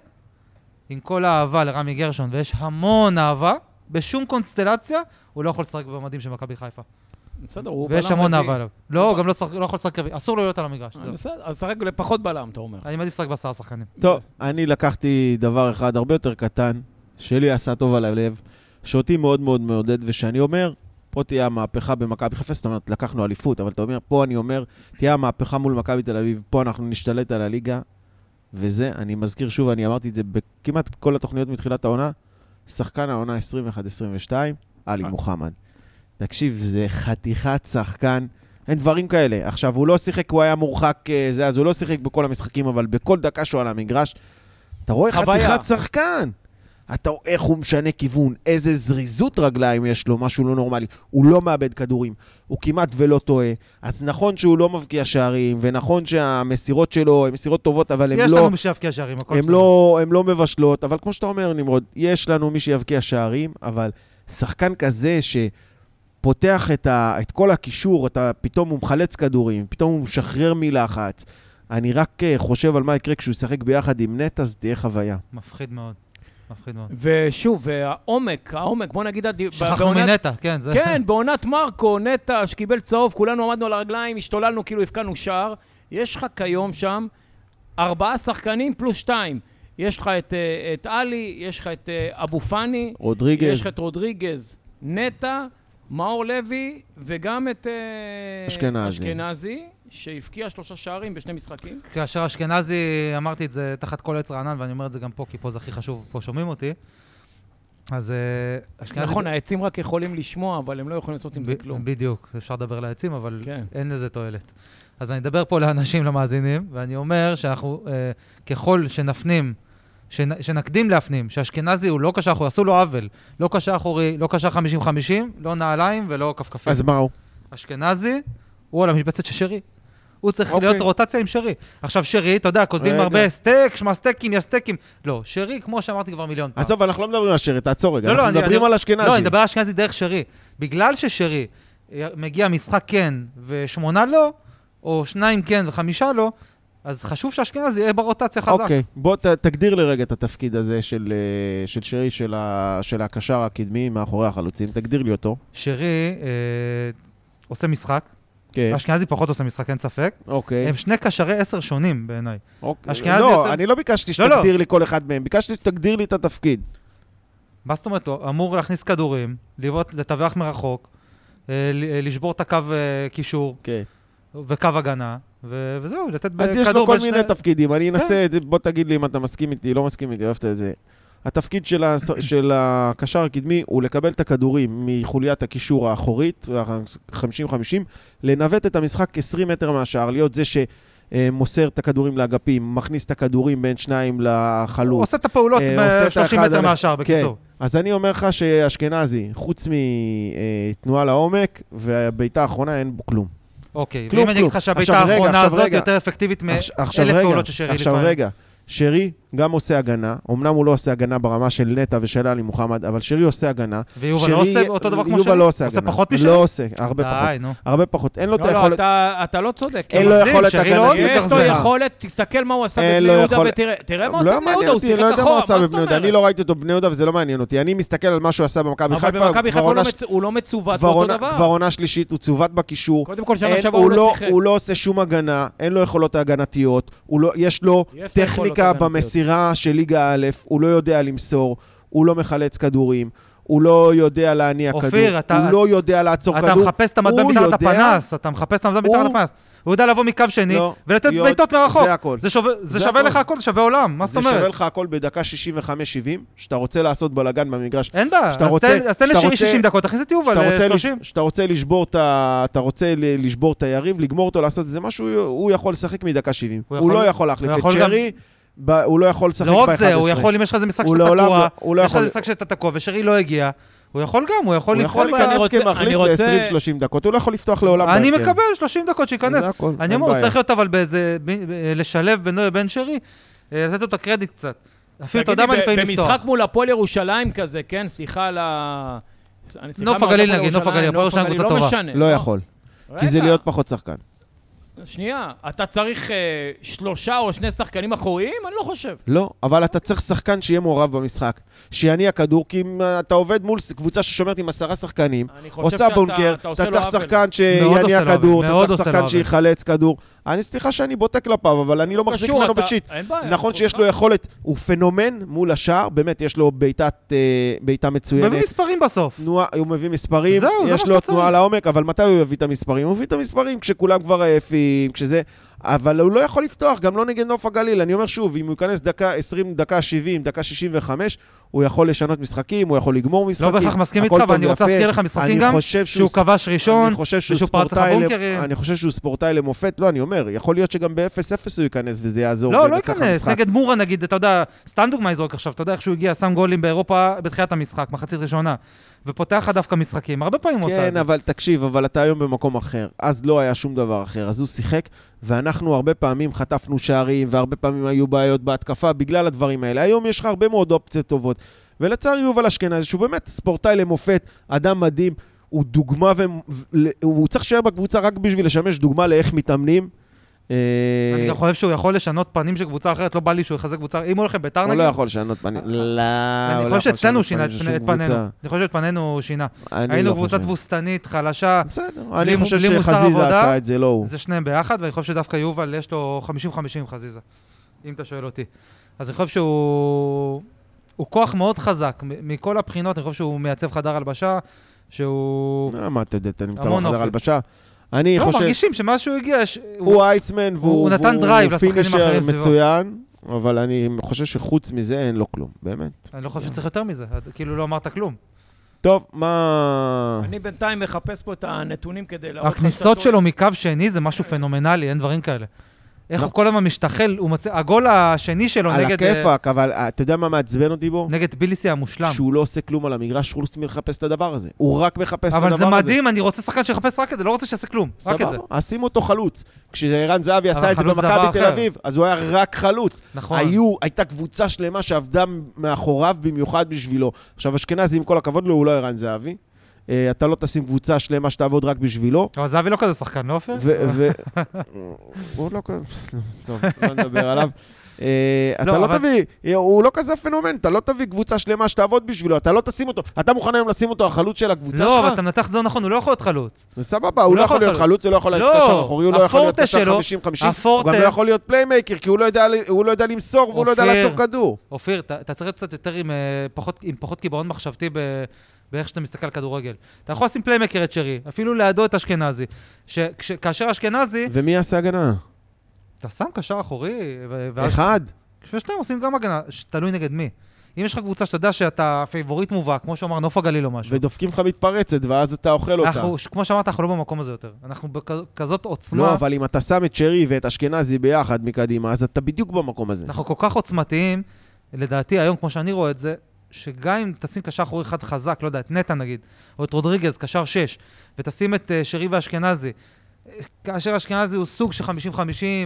Speaker 3: עם כל האהבה לרמי גרשון, ויש המון אהבה, בשום קונסטלציה הוא לא יכול לשחק במדים של מכבי חיפה.
Speaker 1: בסדר, הוא בלם
Speaker 3: ויש המון
Speaker 1: רביעי.
Speaker 3: אהבה עליו. לא, הוא גם לא שחק- לא יכול לשחק רביעי, אסור לו להיות על המגרש. זהו.
Speaker 1: אה, בסדר, אז שחק לפחות בלם, אתה אומר.
Speaker 3: אני מעדיף לשחק בעשרה שחקנים.
Speaker 2: טוב, אני לקחתי דבר אחד הרבה יותר קטן, שלי עשה טוב על הלב, שאותי מאוד מאוד מעודד, ושאני אומר, פה תהיה המהפכה במכבי חיפה, זאת אומרת, לקחנו אליפות, אבל אתה אומר, פה אני אומר, תהיה המהפכה מול מכבי תל אביב, פה אנחנו נשתלט על הליגה, וזה, אני מזכיר שוב, אני אמרתי את זה בכמעט כל התוכניות מתחילת העונה, שחקן העונה 21-22, עלי מוחמד. תקשיב, זה חתיכת שחקן. אין דברים כאלה. עכשיו, הוא לא שיחק, הוא היה מורחק, אה, זה, אז הוא לא שיחק בכל המשחקים, אבל בכל דקה שהוא על המגרש, אתה רואה
Speaker 1: חוויה.
Speaker 2: חתיכת שחקן. אתה רואה איך הוא משנה כיוון, איזה זריזות רגליים יש לו, משהו לא נורמלי. הוא לא מאבד כדורים, הוא כמעט ולא טועה. אז נכון שהוא לא מבקיע שערים, ונכון שהמסירות שלו הן מסירות טובות, אבל הן לא...
Speaker 3: יש לנו מי שיבקיע שערים, הכל
Speaker 2: הם לא, הם לא מבשלות, אבל כמו שאתה אומר, נמרוד, יש לנו מי שיבקיע שערים, אבל שחקן כזה שפותח את, ה, את כל הקישור, אתה, פתאום הוא מחלץ כדורים, פתאום הוא משחרר מלחץ. אני רק אה, חושב על מה יקרה כשהוא ישחק ביחד עם נטע, זה תהיה חוויה.
Speaker 3: מפחיד מאוד. מפחיד מאוד.
Speaker 1: ושוב, העומק, העומק, בוא נגיד... הדי-
Speaker 3: שכחנו
Speaker 1: בעונת-
Speaker 3: מנטע, כן, זה...
Speaker 1: כן, בעונת מרקו, נטע, שקיבל צהוב, כולנו עמדנו על הרגליים, השתוללנו כאילו הבקענו שער. יש לך כיום שם ארבעה שחקנים פלוס שתיים. יש לך את, אה, את עלי, יש לך את אה, אבו פאני,
Speaker 2: רודריגז,
Speaker 1: יש לך את רודריגז, נטע, מאור לוי, וגם את אה,
Speaker 2: אשכנזי.
Speaker 1: אשכנזי, שהבקיע שלושה שערים בשני משחקים.
Speaker 3: כאשר אשכנזי, אמרתי את זה תחת כל עץ רענן, ואני אומר את זה גם פה, כי פה זה הכי חשוב, פה שומעים אותי. אז אה, אשכנזי...
Speaker 1: נכון, העצים רק יכולים לשמוע, אבל הם לא יכולים לעשות עם זה כלום.
Speaker 3: בדיוק, אפשר לדבר לעצים, אבל
Speaker 1: כן.
Speaker 3: אין לזה תועלת. אז אני אדבר פה לאנשים, למאזינים, ואני אומר שאנחנו, אה, ככל שנפנים, שנ, שנקדים להפנים, שאשכנזי הוא לא קשר אחורי, עשו לו עוול. לא קשר אחורי, לא קשר 50-50, לא נעליים ולא כפכפים.
Speaker 2: אז מה הוא?
Speaker 3: אשכנזי, הוא על המשבצת של שרי. הוא צריך
Speaker 2: אוקיי.
Speaker 3: להיות רוטציה עם שרי. עכשיו, שרי, אתה יודע, כותבים
Speaker 2: רגע.
Speaker 3: הרבה סטייק, שמע סטייקים, יא סטייקים. לא, שרי, כמו שאמרתי כבר מיליון פעם.
Speaker 2: עזוב, אנחנו לא מדברים על שרי, תעצור רגע,
Speaker 3: לא, לא,
Speaker 2: אנחנו
Speaker 3: אני-
Speaker 2: מדברים
Speaker 3: אני-
Speaker 2: על אשכנזי.
Speaker 3: לא, אני מדבר על אשכנזי דרך שרי. בגלל ששרי אה, מגיע משחק כן ושמונה לא, או שניים כן וחמישה לא, אז חשוב שאשכנזי יהיה ברוטציה חזק.
Speaker 2: אוקיי, בוא ת, תגדיר לי רגע את התפקיד הזה של, אה, של שרי, של, ה, של הקשר הקדמי מאחורי החלוצים, תגדיר לי אותו.
Speaker 3: שרי אה, עושה משחק,
Speaker 2: כן,
Speaker 3: אשכנזי פחות עושה משחק, אין ספק.
Speaker 2: אוקיי.
Speaker 3: הם שני קשרי עשר שונים בעיניי.
Speaker 2: אוקיי.
Speaker 3: אה, אשכנזי
Speaker 2: לא,
Speaker 3: יותר-
Speaker 2: אני לא ביקשתי
Speaker 3: לא, לא.
Speaker 2: שתגדיר לי כל אחד מהם, ביקשתי שתגדיר לי את התפקיד.
Speaker 3: מה זאת אומרת? הוא אמור להכניס כדורים, לבעוט, לטווח מרחוק, אה, ל- אה, לשבור את הקו אה, קישור
Speaker 2: כן.
Speaker 3: וקו הגנה, ו- וזהו, לתת
Speaker 2: אז יש לו
Speaker 3: כדור
Speaker 2: כל
Speaker 3: בין
Speaker 2: מיני
Speaker 3: שני-
Speaker 2: תפקידים,
Speaker 3: כן.
Speaker 2: אני אנסה את זה, בוא תגיד לי אם אתה מסכים איתי, לא מסכים איתי, אהבת את זה. התפקיד של, הס... של הקשר הקדמי הוא לקבל את הכדורים מחוליית הקישור האחורית, ה-50-50, לנווט את המשחק 20 מטר מהשער, להיות זה שמוסר את הכדורים לאגפים, מכניס את הכדורים בין שניים
Speaker 3: הוא
Speaker 2: לחלוץ.
Speaker 3: עושה את הפעולות
Speaker 2: אה, עושה את
Speaker 3: ב-30
Speaker 2: האחד
Speaker 3: מטר
Speaker 2: על-
Speaker 3: מהשער,
Speaker 2: כן.
Speaker 3: בקיצור.
Speaker 2: אז אני אומר לך שאשכנזי, חוץ מתנועה לעומק, והבעיטה האחרונה אין בו כלום.
Speaker 3: אוקיי,
Speaker 2: כלום,
Speaker 3: ואם אני אגיד
Speaker 2: כלום.
Speaker 3: לך שהבעיטה
Speaker 2: עכשיו רגע,
Speaker 3: האחרונה
Speaker 2: עכשיו
Speaker 3: הזאת
Speaker 2: רגע.
Speaker 3: יותר אפקטיבית מאלף
Speaker 2: עכש- עכשיו רגע,
Speaker 3: פעולות ששרי
Speaker 2: עכשיו
Speaker 3: לפעמים.
Speaker 2: רגע, שרי גם עושה הגנה, אמנם הוא לא עושה הגנה ברמה של נטע ושל עלי מוחמד, אבל שרי עושה הגנה.
Speaker 3: ויובל
Speaker 2: שרי-
Speaker 3: לא עושה אותו דבר כמו שרי?
Speaker 2: יובל לא עושה
Speaker 3: עושה
Speaker 2: הגנה.
Speaker 3: פחות משרי?
Speaker 2: לא עושה, הרבה
Speaker 3: די,
Speaker 2: פחות.
Speaker 3: נו.
Speaker 2: הרבה פחות. אין לו את
Speaker 1: לא, לא,
Speaker 2: היכולת...
Speaker 1: אתה- אתה לא צודק.
Speaker 2: אין לו
Speaker 3: מגזים,
Speaker 2: יכולת
Speaker 3: שרי לא
Speaker 2: הגנה.
Speaker 3: עושה.
Speaker 1: יש
Speaker 2: כך
Speaker 1: לו
Speaker 2: זה רע.
Speaker 1: יכולת, תסתכל מה הוא עשה
Speaker 2: אין
Speaker 1: בבני
Speaker 2: לו
Speaker 1: יהודה
Speaker 2: אה, לא יכול-
Speaker 1: ותראה תראה מה הוא עשה
Speaker 2: לא
Speaker 1: בבני
Speaker 2: מעניין
Speaker 1: יהודה, הוא
Speaker 2: אותי,
Speaker 1: שיחק
Speaker 2: לא יודע מה
Speaker 1: אחורה,
Speaker 2: הוא
Speaker 1: מה
Speaker 2: עשה
Speaker 1: זאת
Speaker 2: בבני יהודה.
Speaker 1: אומרת?
Speaker 2: אני לא ראיתי אותו בבני יהודה וזה לא מעניין אותי. אני מסתכל על מה שהוא עשה במכבי
Speaker 1: אבל
Speaker 2: חיפה.
Speaker 1: במכבי חיפה
Speaker 2: כבר
Speaker 1: הוא לא
Speaker 2: עונה ש-
Speaker 1: מצ- הוא לא מצוות
Speaker 2: כבר
Speaker 1: באותו
Speaker 2: עונה- כבר
Speaker 1: דבר.
Speaker 2: עונה שלישית, הוא צוות בקישור.
Speaker 1: קודם כל,
Speaker 2: אין,
Speaker 1: שנה שעברה
Speaker 2: הוא,
Speaker 1: הוא
Speaker 2: לא,
Speaker 1: לא שיחק.
Speaker 2: הוא לא עושה שום הגנה, אין לו יכולות הגנתיות, הוא לא, יש לו
Speaker 1: יש לו יכולות
Speaker 2: טכניקה
Speaker 1: הגנתיות.
Speaker 2: במסירה של ליגה א', הוא לא יודע למסור, הוא לא מחלץ כדורים, הוא לא יודע להניע
Speaker 3: אופיר,
Speaker 2: כדור,
Speaker 3: אתה-
Speaker 2: הוא לא יודע לעצור
Speaker 3: אתה
Speaker 2: כדור.
Speaker 3: מחפש את המטבע
Speaker 2: הוא
Speaker 3: מתחת
Speaker 2: יודע-
Speaker 3: לפנס, אתה מחפש את המטבע
Speaker 2: הוא-
Speaker 3: מתחת לפנס. הוא יודע לבוא מקו שני
Speaker 2: לא,
Speaker 3: ולתת
Speaker 2: יוד-
Speaker 3: בעיטות מרחוק.
Speaker 2: זה הכל.
Speaker 3: זה שווה-
Speaker 2: זה
Speaker 3: זה שווה
Speaker 2: הכל.
Speaker 3: לך הכל, זה שווה עולם, מה זאת
Speaker 2: זה שווה
Speaker 3: אומרת?
Speaker 2: לך הכל בדקה 65-70, שאתה רוצה לעשות בלאגן במגרש.
Speaker 3: אין בעיה, אז
Speaker 2: שאתה רוצה-
Speaker 3: תן- אז תן
Speaker 2: שאתה
Speaker 3: לשירי
Speaker 2: רוצה-
Speaker 3: 60 דקות, תכניס את יובל אה,
Speaker 2: שאתה רוצה, לש...
Speaker 3: ל-30.
Speaker 2: שאתה רוצה לשבור את ה... אתה רוצה ל... לשבור את היריב, לגמור אותו, לעשות איזה משהו, הוא יכול לשחק מדקה 70.
Speaker 3: הוא
Speaker 2: הוא,
Speaker 3: יכול-
Speaker 2: לא יכול להחליף
Speaker 3: הוא
Speaker 2: את
Speaker 3: יכול גם-
Speaker 2: צ'רי, ב... הוא לא יכול לשחק ב-11.
Speaker 3: לא רק זה, הוא יכול, אם יש לך איזה משחק
Speaker 2: הוא
Speaker 3: שאתה
Speaker 2: לעולם
Speaker 3: תקוע,
Speaker 2: לא- הוא לא
Speaker 3: יש לך איזה
Speaker 2: יכול-
Speaker 3: משחק שאתה תקוע ושרי לא הגיע, הוא יכול גם, הוא יכול
Speaker 2: הוא
Speaker 3: לקרוא
Speaker 2: יכול
Speaker 1: אבל אני
Speaker 2: להיכנס
Speaker 1: רוצה- אני
Speaker 2: כמחליף
Speaker 1: רוצה-
Speaker 2: ל-20-30 דקות, הוא לא יכול לפתוח לעולם.
Speaker 3: אני
Speaker 2: בהרכב.
Speaker 3: מקבל 30 דקות שייכנס.
Speaker 2: זה הכל,
Speaker 3: אני
Speaker 2: אין
Speaker 3: אומר, הוא
Speaker 2: בעיה.
Speaker 3: צריך להיות אבל באיזה, ב- ב- לשלב בינו לבין שרי, אה, לתת לו את הקרדיט קצת. אפילו, אתה יודע מה
Speaker 1: תגיד לי,
Speaker 3: לפעמים לפתוח.
Speaker 1: במשחק מול הפועל ירושלים כזה, כן, סליחה על ה... אני- סליחה,
Speaker 3: נוף
Speaker 1: מה,
Speaker 3: הגליל
Speaker 1: הפועל
Speaker 3: נגיד, נוף
Speaker 1: ירושלים,
Speaker 3: הגליל, הפועל ירושלים קבוצה טובה.
Speaker 1: לא משנה.
Speaker 2: לא יכול, כי זה
Speaker 1: רגע,
Speaker 2: להיות פחות שחקן.
Speaker 1: שנייה, אתה צריך אה, שלושה או שני שחקנים אחוריים? אני לא חושב.
Speaker 2: לא, אבל אתה צריך שחקן שיהיה מעורב במשחק, שיניע כדור, כי אם אה, אתה עובד מול ס- קבוצה ששומרת עם עשרה שחקנים,
Speaker 1: אני חושב
Speaker 2: עושה
Speaker 1: שאתה-
Speaker 2: בונקר,
Speaker 1: אתה עושה
Speaker 2: אתה
Speaker 1: לו
Speaker 2: צריך
Speaker 1: עוול.
Speaker 2: שחקן
Speaker 3: מאוד עושה
Speaker 2: שיניע
Speaker 3: לו
Speaker 2: כדור,
Speaker 3: עוול, מאוד
Speaker 2: אתה צריך
Speaker 3: עושה לו
Speaker 2: שחקן
Speaker 3: עוול.
Speaker 2: שיחלץ כדור. אני, סליחה שאני בוטה כלפיו, אבל אני לא מחזיק
Speaker 1: קשור,
Speaker 2: ממנו
Speaker 1: אתה- אה,
Speaker 2: בשיט.
Speaker 1: אין בעיה,
Speaker 2: נכון שיש
Speaker 1: זכותך.
Speaker 2: לו יכולת, הוא פנומן מול השער, באמת, יש לו בעיטת, אה, בעיטה
Speaker 3: הוא
Speaker 2: מצוינת.
Speaker 3: מביא מספרים בסוף.
Speaker 2: תנועה, הוא מביא מספרים,
Speaker 3: זהו, זה מה
Speaker 2: יש
Speaker 3: שאתה
Speaker 2: לו
Speaker 3: צריך.
Speaker 2: תנועה לעומק, אבל מתי הוא יביא את המספרים? הוא מביא את המספרים כשכולם כבר עייפים, כשזה... אבל הוא לא יכול לפתוח, גם לא נגד נוף הגליל. אני אומר שוב, אם הוא ייכנס דקה 20, דקה 70, דקה 65, הוא יכול לשנות משחקים, הוא יכול לגמור
Speaker 3: לא
Speaker 2: משחקים.
Speaker 3: בהכרח מסכים
Speaker 2: הכל
Speaker 3: איתך,
Speaker 2: טוב
Speaker 3: אבל אני רוצה
Speaker 2: ויפה.
Speaker 3: להזכיר לך משחקים
Speaker 2: אני
Speaker 3: גם,
Speaker 2: חושב
Speaker 3: שהוא כבש ראשון,
Speaker 2: אני חושב שהוא
Speaker 3: ושהוא פרץ לך
Speaker 2: ספורטאי למ-
Speaker 3: בונקרים.
Speaker 2: אני חושב שהוא ספורטאי למופת, לא, אני אומר, יכול להיות שגם ב-0-0 הוא ייכנס וזה יעזור.
Speaker 3: לא, לא
Speaker 2: וינצח
Speaker 3: ייכנס,
Speaker 2: המשחק.
Speaker 3: נגד מורה נגיד, אתה יודע, סתם דוגמא יזרוק עכשיו, אתה יודע איך שהוא הגיע, שם גולים באירופה בתחילת המשחק, מחצית ראשונה, ופותח לך דווקא משחקים, הרבה פעמים הוא עושה את
Speaker 2: כן,
Speaker 3: זה.
Speaker 2: אבל תקשיב, אבל אתה היום במקום אחר. אז לא היה שום דבר אחר. אז הוא שיחק, ואנחנו הרבה פעמים חטפנו שערים, והרבה פעמים היו בעיות בהתקפה בגלל הדברים האלה. היום יש לך הרבה מאוד אופציות טובות. ולצער יובל אשכנזי, שהוא באמת ספורטאי למופת, אדם מדהים, הוא דוגמה, ו... הוא צריך להישאר בקבוצה רק בשביל לשמש דוגמה לאיך מתאמנים. אה,
Speaker 3: אני גם חושב שהוא יכול לשנות פנים של קבוצה אחרת, לא בא לי שהוא יחזק קבוצה, אם הוא הולך לביתר
Speaker 2: הוא
Speaker 3: נגיד, אה,
Speaker 2: לא יכול לשנות פנים. לא,
Speaker 3: אני
Speaker 2: הוא לא
Speaker 3: חושב
Speaker 2: יכול
Speaker 3: שאצלנו הוא
Speaker 2: לשנות
Speaker 3: שינה את
Speaker 2: פנים של
Speaker 3: פני- את
Speaker 2: שום
Speaker 3: פנינו,
Speaker 2: קבוצה.
Speaker 3: אני חושב שאת פנינו הוא שינה.
Speaker 2: אני
Speaker 3: היינו
Speaker 2: לא
Speaker 3: קבוצה
Speaker 2: חושב.
Speaker 3: תבוסתנית, חלשה,
Speaker 2: בסדר,
Speaker 3: בלי
Speaker 2: אני חושב
Speaker 3: מוסר
Speaker 2: שחזיזה
Speaker 3: עבודה.
Speaker 2: עשה את זה, לא הוא.
Speaker 3: זה שניהם ביחד, ואני חושב שדווקא יובל יש לו 50-50 עם חזיזה, אם אתה שואל אותי. אז אני חושב שהוא הוא כוח מאוד חזק, מ- מכל הבחינות, אני חושב שהוא מייצב חדר הלבשה, שהוא...
Speaker 2: אה, מה אתה יודע, אתה נמצא
Speaker 3: המון
Speaker 2: בחדר
Speaker 3: אופי.
Speaker 2: הלבשה. אני
Speaker 3: לא,
Speaker 2: חושב,
Speaker 3: מרגישים שמאז שהוא הגיע, יש-
Speaker 2: הוא אייסמן והוא
Speaker 3: הוא נתן
Speaker 2: והוא
Speaker 3: דרייב לשחקנים
Speaker 2: פינישר
Speaker 3: האחרים סביבו.
Speaker 2: מצוין, אבל אני חושב שחוץ מזה אין לו כלום, באמת.
Speaker 3: אני לא חושב שצריך יותר מזה, אתה- כאילו לא אמרת כלום.
Speaker 2: טוב, מה...
Speaker 1: אני בינתיים מחפש פה את הנתונים כדי להראות לך
Speaker 3: הכניסות
Speaker 1: שאתה
Speaker 3: שלו מקו שני זה משהו פנומנלי, אין דברים כאלה. איך הוא כל הזמן משתחל, הוא מצא- הגול השני שלו
Speaker 2: על
Speaker 3: נגד, אה,
Speaker 2: הכיפאק, אבל אה, אתה יודע מה מעצבן אותי בו?
Speaker 3: נגד ביליסי המושלם.
Speaker 2: שהוא לא עושה כלום על המגרש חוץ מלחפש את הדבר הזה. הוא רק מחפש את הדבר
Speaker 3: אבל
Speaker 2: הזה.
Speaker 3: זה מדהים, אני רוצה שחקן שיחפש רק את זה, לא רוצה שיעשה כלום, רק את זה.
Speaker 2: סבבה, אז שימו אותו חלוץ. כשערן זהבי
Speaker 3: אבל
Speaker 2: עשה את זה
Speaker 3: חלוץ זה דבר
Speaker 2: במכבי תל
Speaker 3: אחר.
Speaker 2: אביב, אז הוא היה רק חלוץ.
Speaker 3: נכון.
Speaker 2: היו, הייתה קבוצה שלמה שעבדה מאחוריו במיוחד בשבילו. עכשיו, אשכנזי, עם כל הכבוד לו, הוא לא ערן זהבי. אה, אתה לא תשים קבוצה שלמה שתעבוד רק בשבילו.
Speaker 3: אבל זהבי לא כזה שחקן, לא עופר?
Speaker 2: ו... ו- הוא לא כזה... טוב, לא נדבר עליו. אה, אתה
Speaker 3: לא,
Speaker 2: לא
Speaker 3: אבל-
Speaker 2: תביא, הוא לא כזה פנומן, אתה לא תביא קבוצה שלמה שתעבוד בשבילו, אתה לא תשים אותו. אתה מוכן היום לשים אותו החלוץ של הקבוצה שלך?
Speaker 3: לא, אבל אתה נתח את זה לא נכון, הוא לא יכול להיות חלוץ.
Speaker 2: זה סבבה, הוא לא יכול להיות חלוץ, הוא לא יכול להיות
Speaker 3: לא,
Speaker 2: קשר אחורי, הוא לא יכול להיות
Speaker 3: הפורטה
Speaker 2: קשר
Speaker 3: שלו-
Speaker 2: 50-50, הוא גם
Speaker 3: הפורטה-
Speaker 2: לא יכול להיות פליימייקר, כי הוא לא יודע- הוא לא יודע למסור והוא לא יודע
Speaker 3: אופיר.
Speaker 2: לעצור כדור.
Speaker 3: אופיר, אתה אתה צריך להיות קצת יותר עם אה, פחות- עם פחות קיבעון מחשבתי ב- באיך שאתה מסתכל על כדורגל. אתה יכול לשים פליימקר את שרי, אפילו לידו את אשכנזי. ש- כש- כאשר אשכנזי,
Speaker 2: ומי יעשה הגנה?
Speaker 3: אתה שם קשר אחורי, ו- ואז
Speaker 2: אחד.
Speaker 3: ששניהם עושים גם הגנה, ש- תלוי נגד מי. אם יש לך קבוצה שאתה יודע שאתה פייבוריט מובהק, כמו שאמר נוף הגליל או משהו.
Speaker 2: ודופקים לך מתפרצת, ואז אתה אוכל אותה.
Speaker 3: אנחנו, ש- כמו שאמרת, אנחנו לא במקום הזה יותר. אנחנו בכזאת עוצמה,
Speaker 2: לא, אבל אם אתה שם את שרי ואת אשכנזי ביחד מקדימה, אז אתה בדיוק במקום הזה.
Speaker 3: אנחנו כל כך עוצמתיים, לדעתי היום, כמו שאני רואה את זה, שגם אם תשים קשר אחורי אחד חזק, לא יודע, את נטע נגיד, או את רודריגז, קשר שש, ותשים את אה, שרי ואשכנזי, אה, כאשר אשכנזי הוא סוג של 50-50,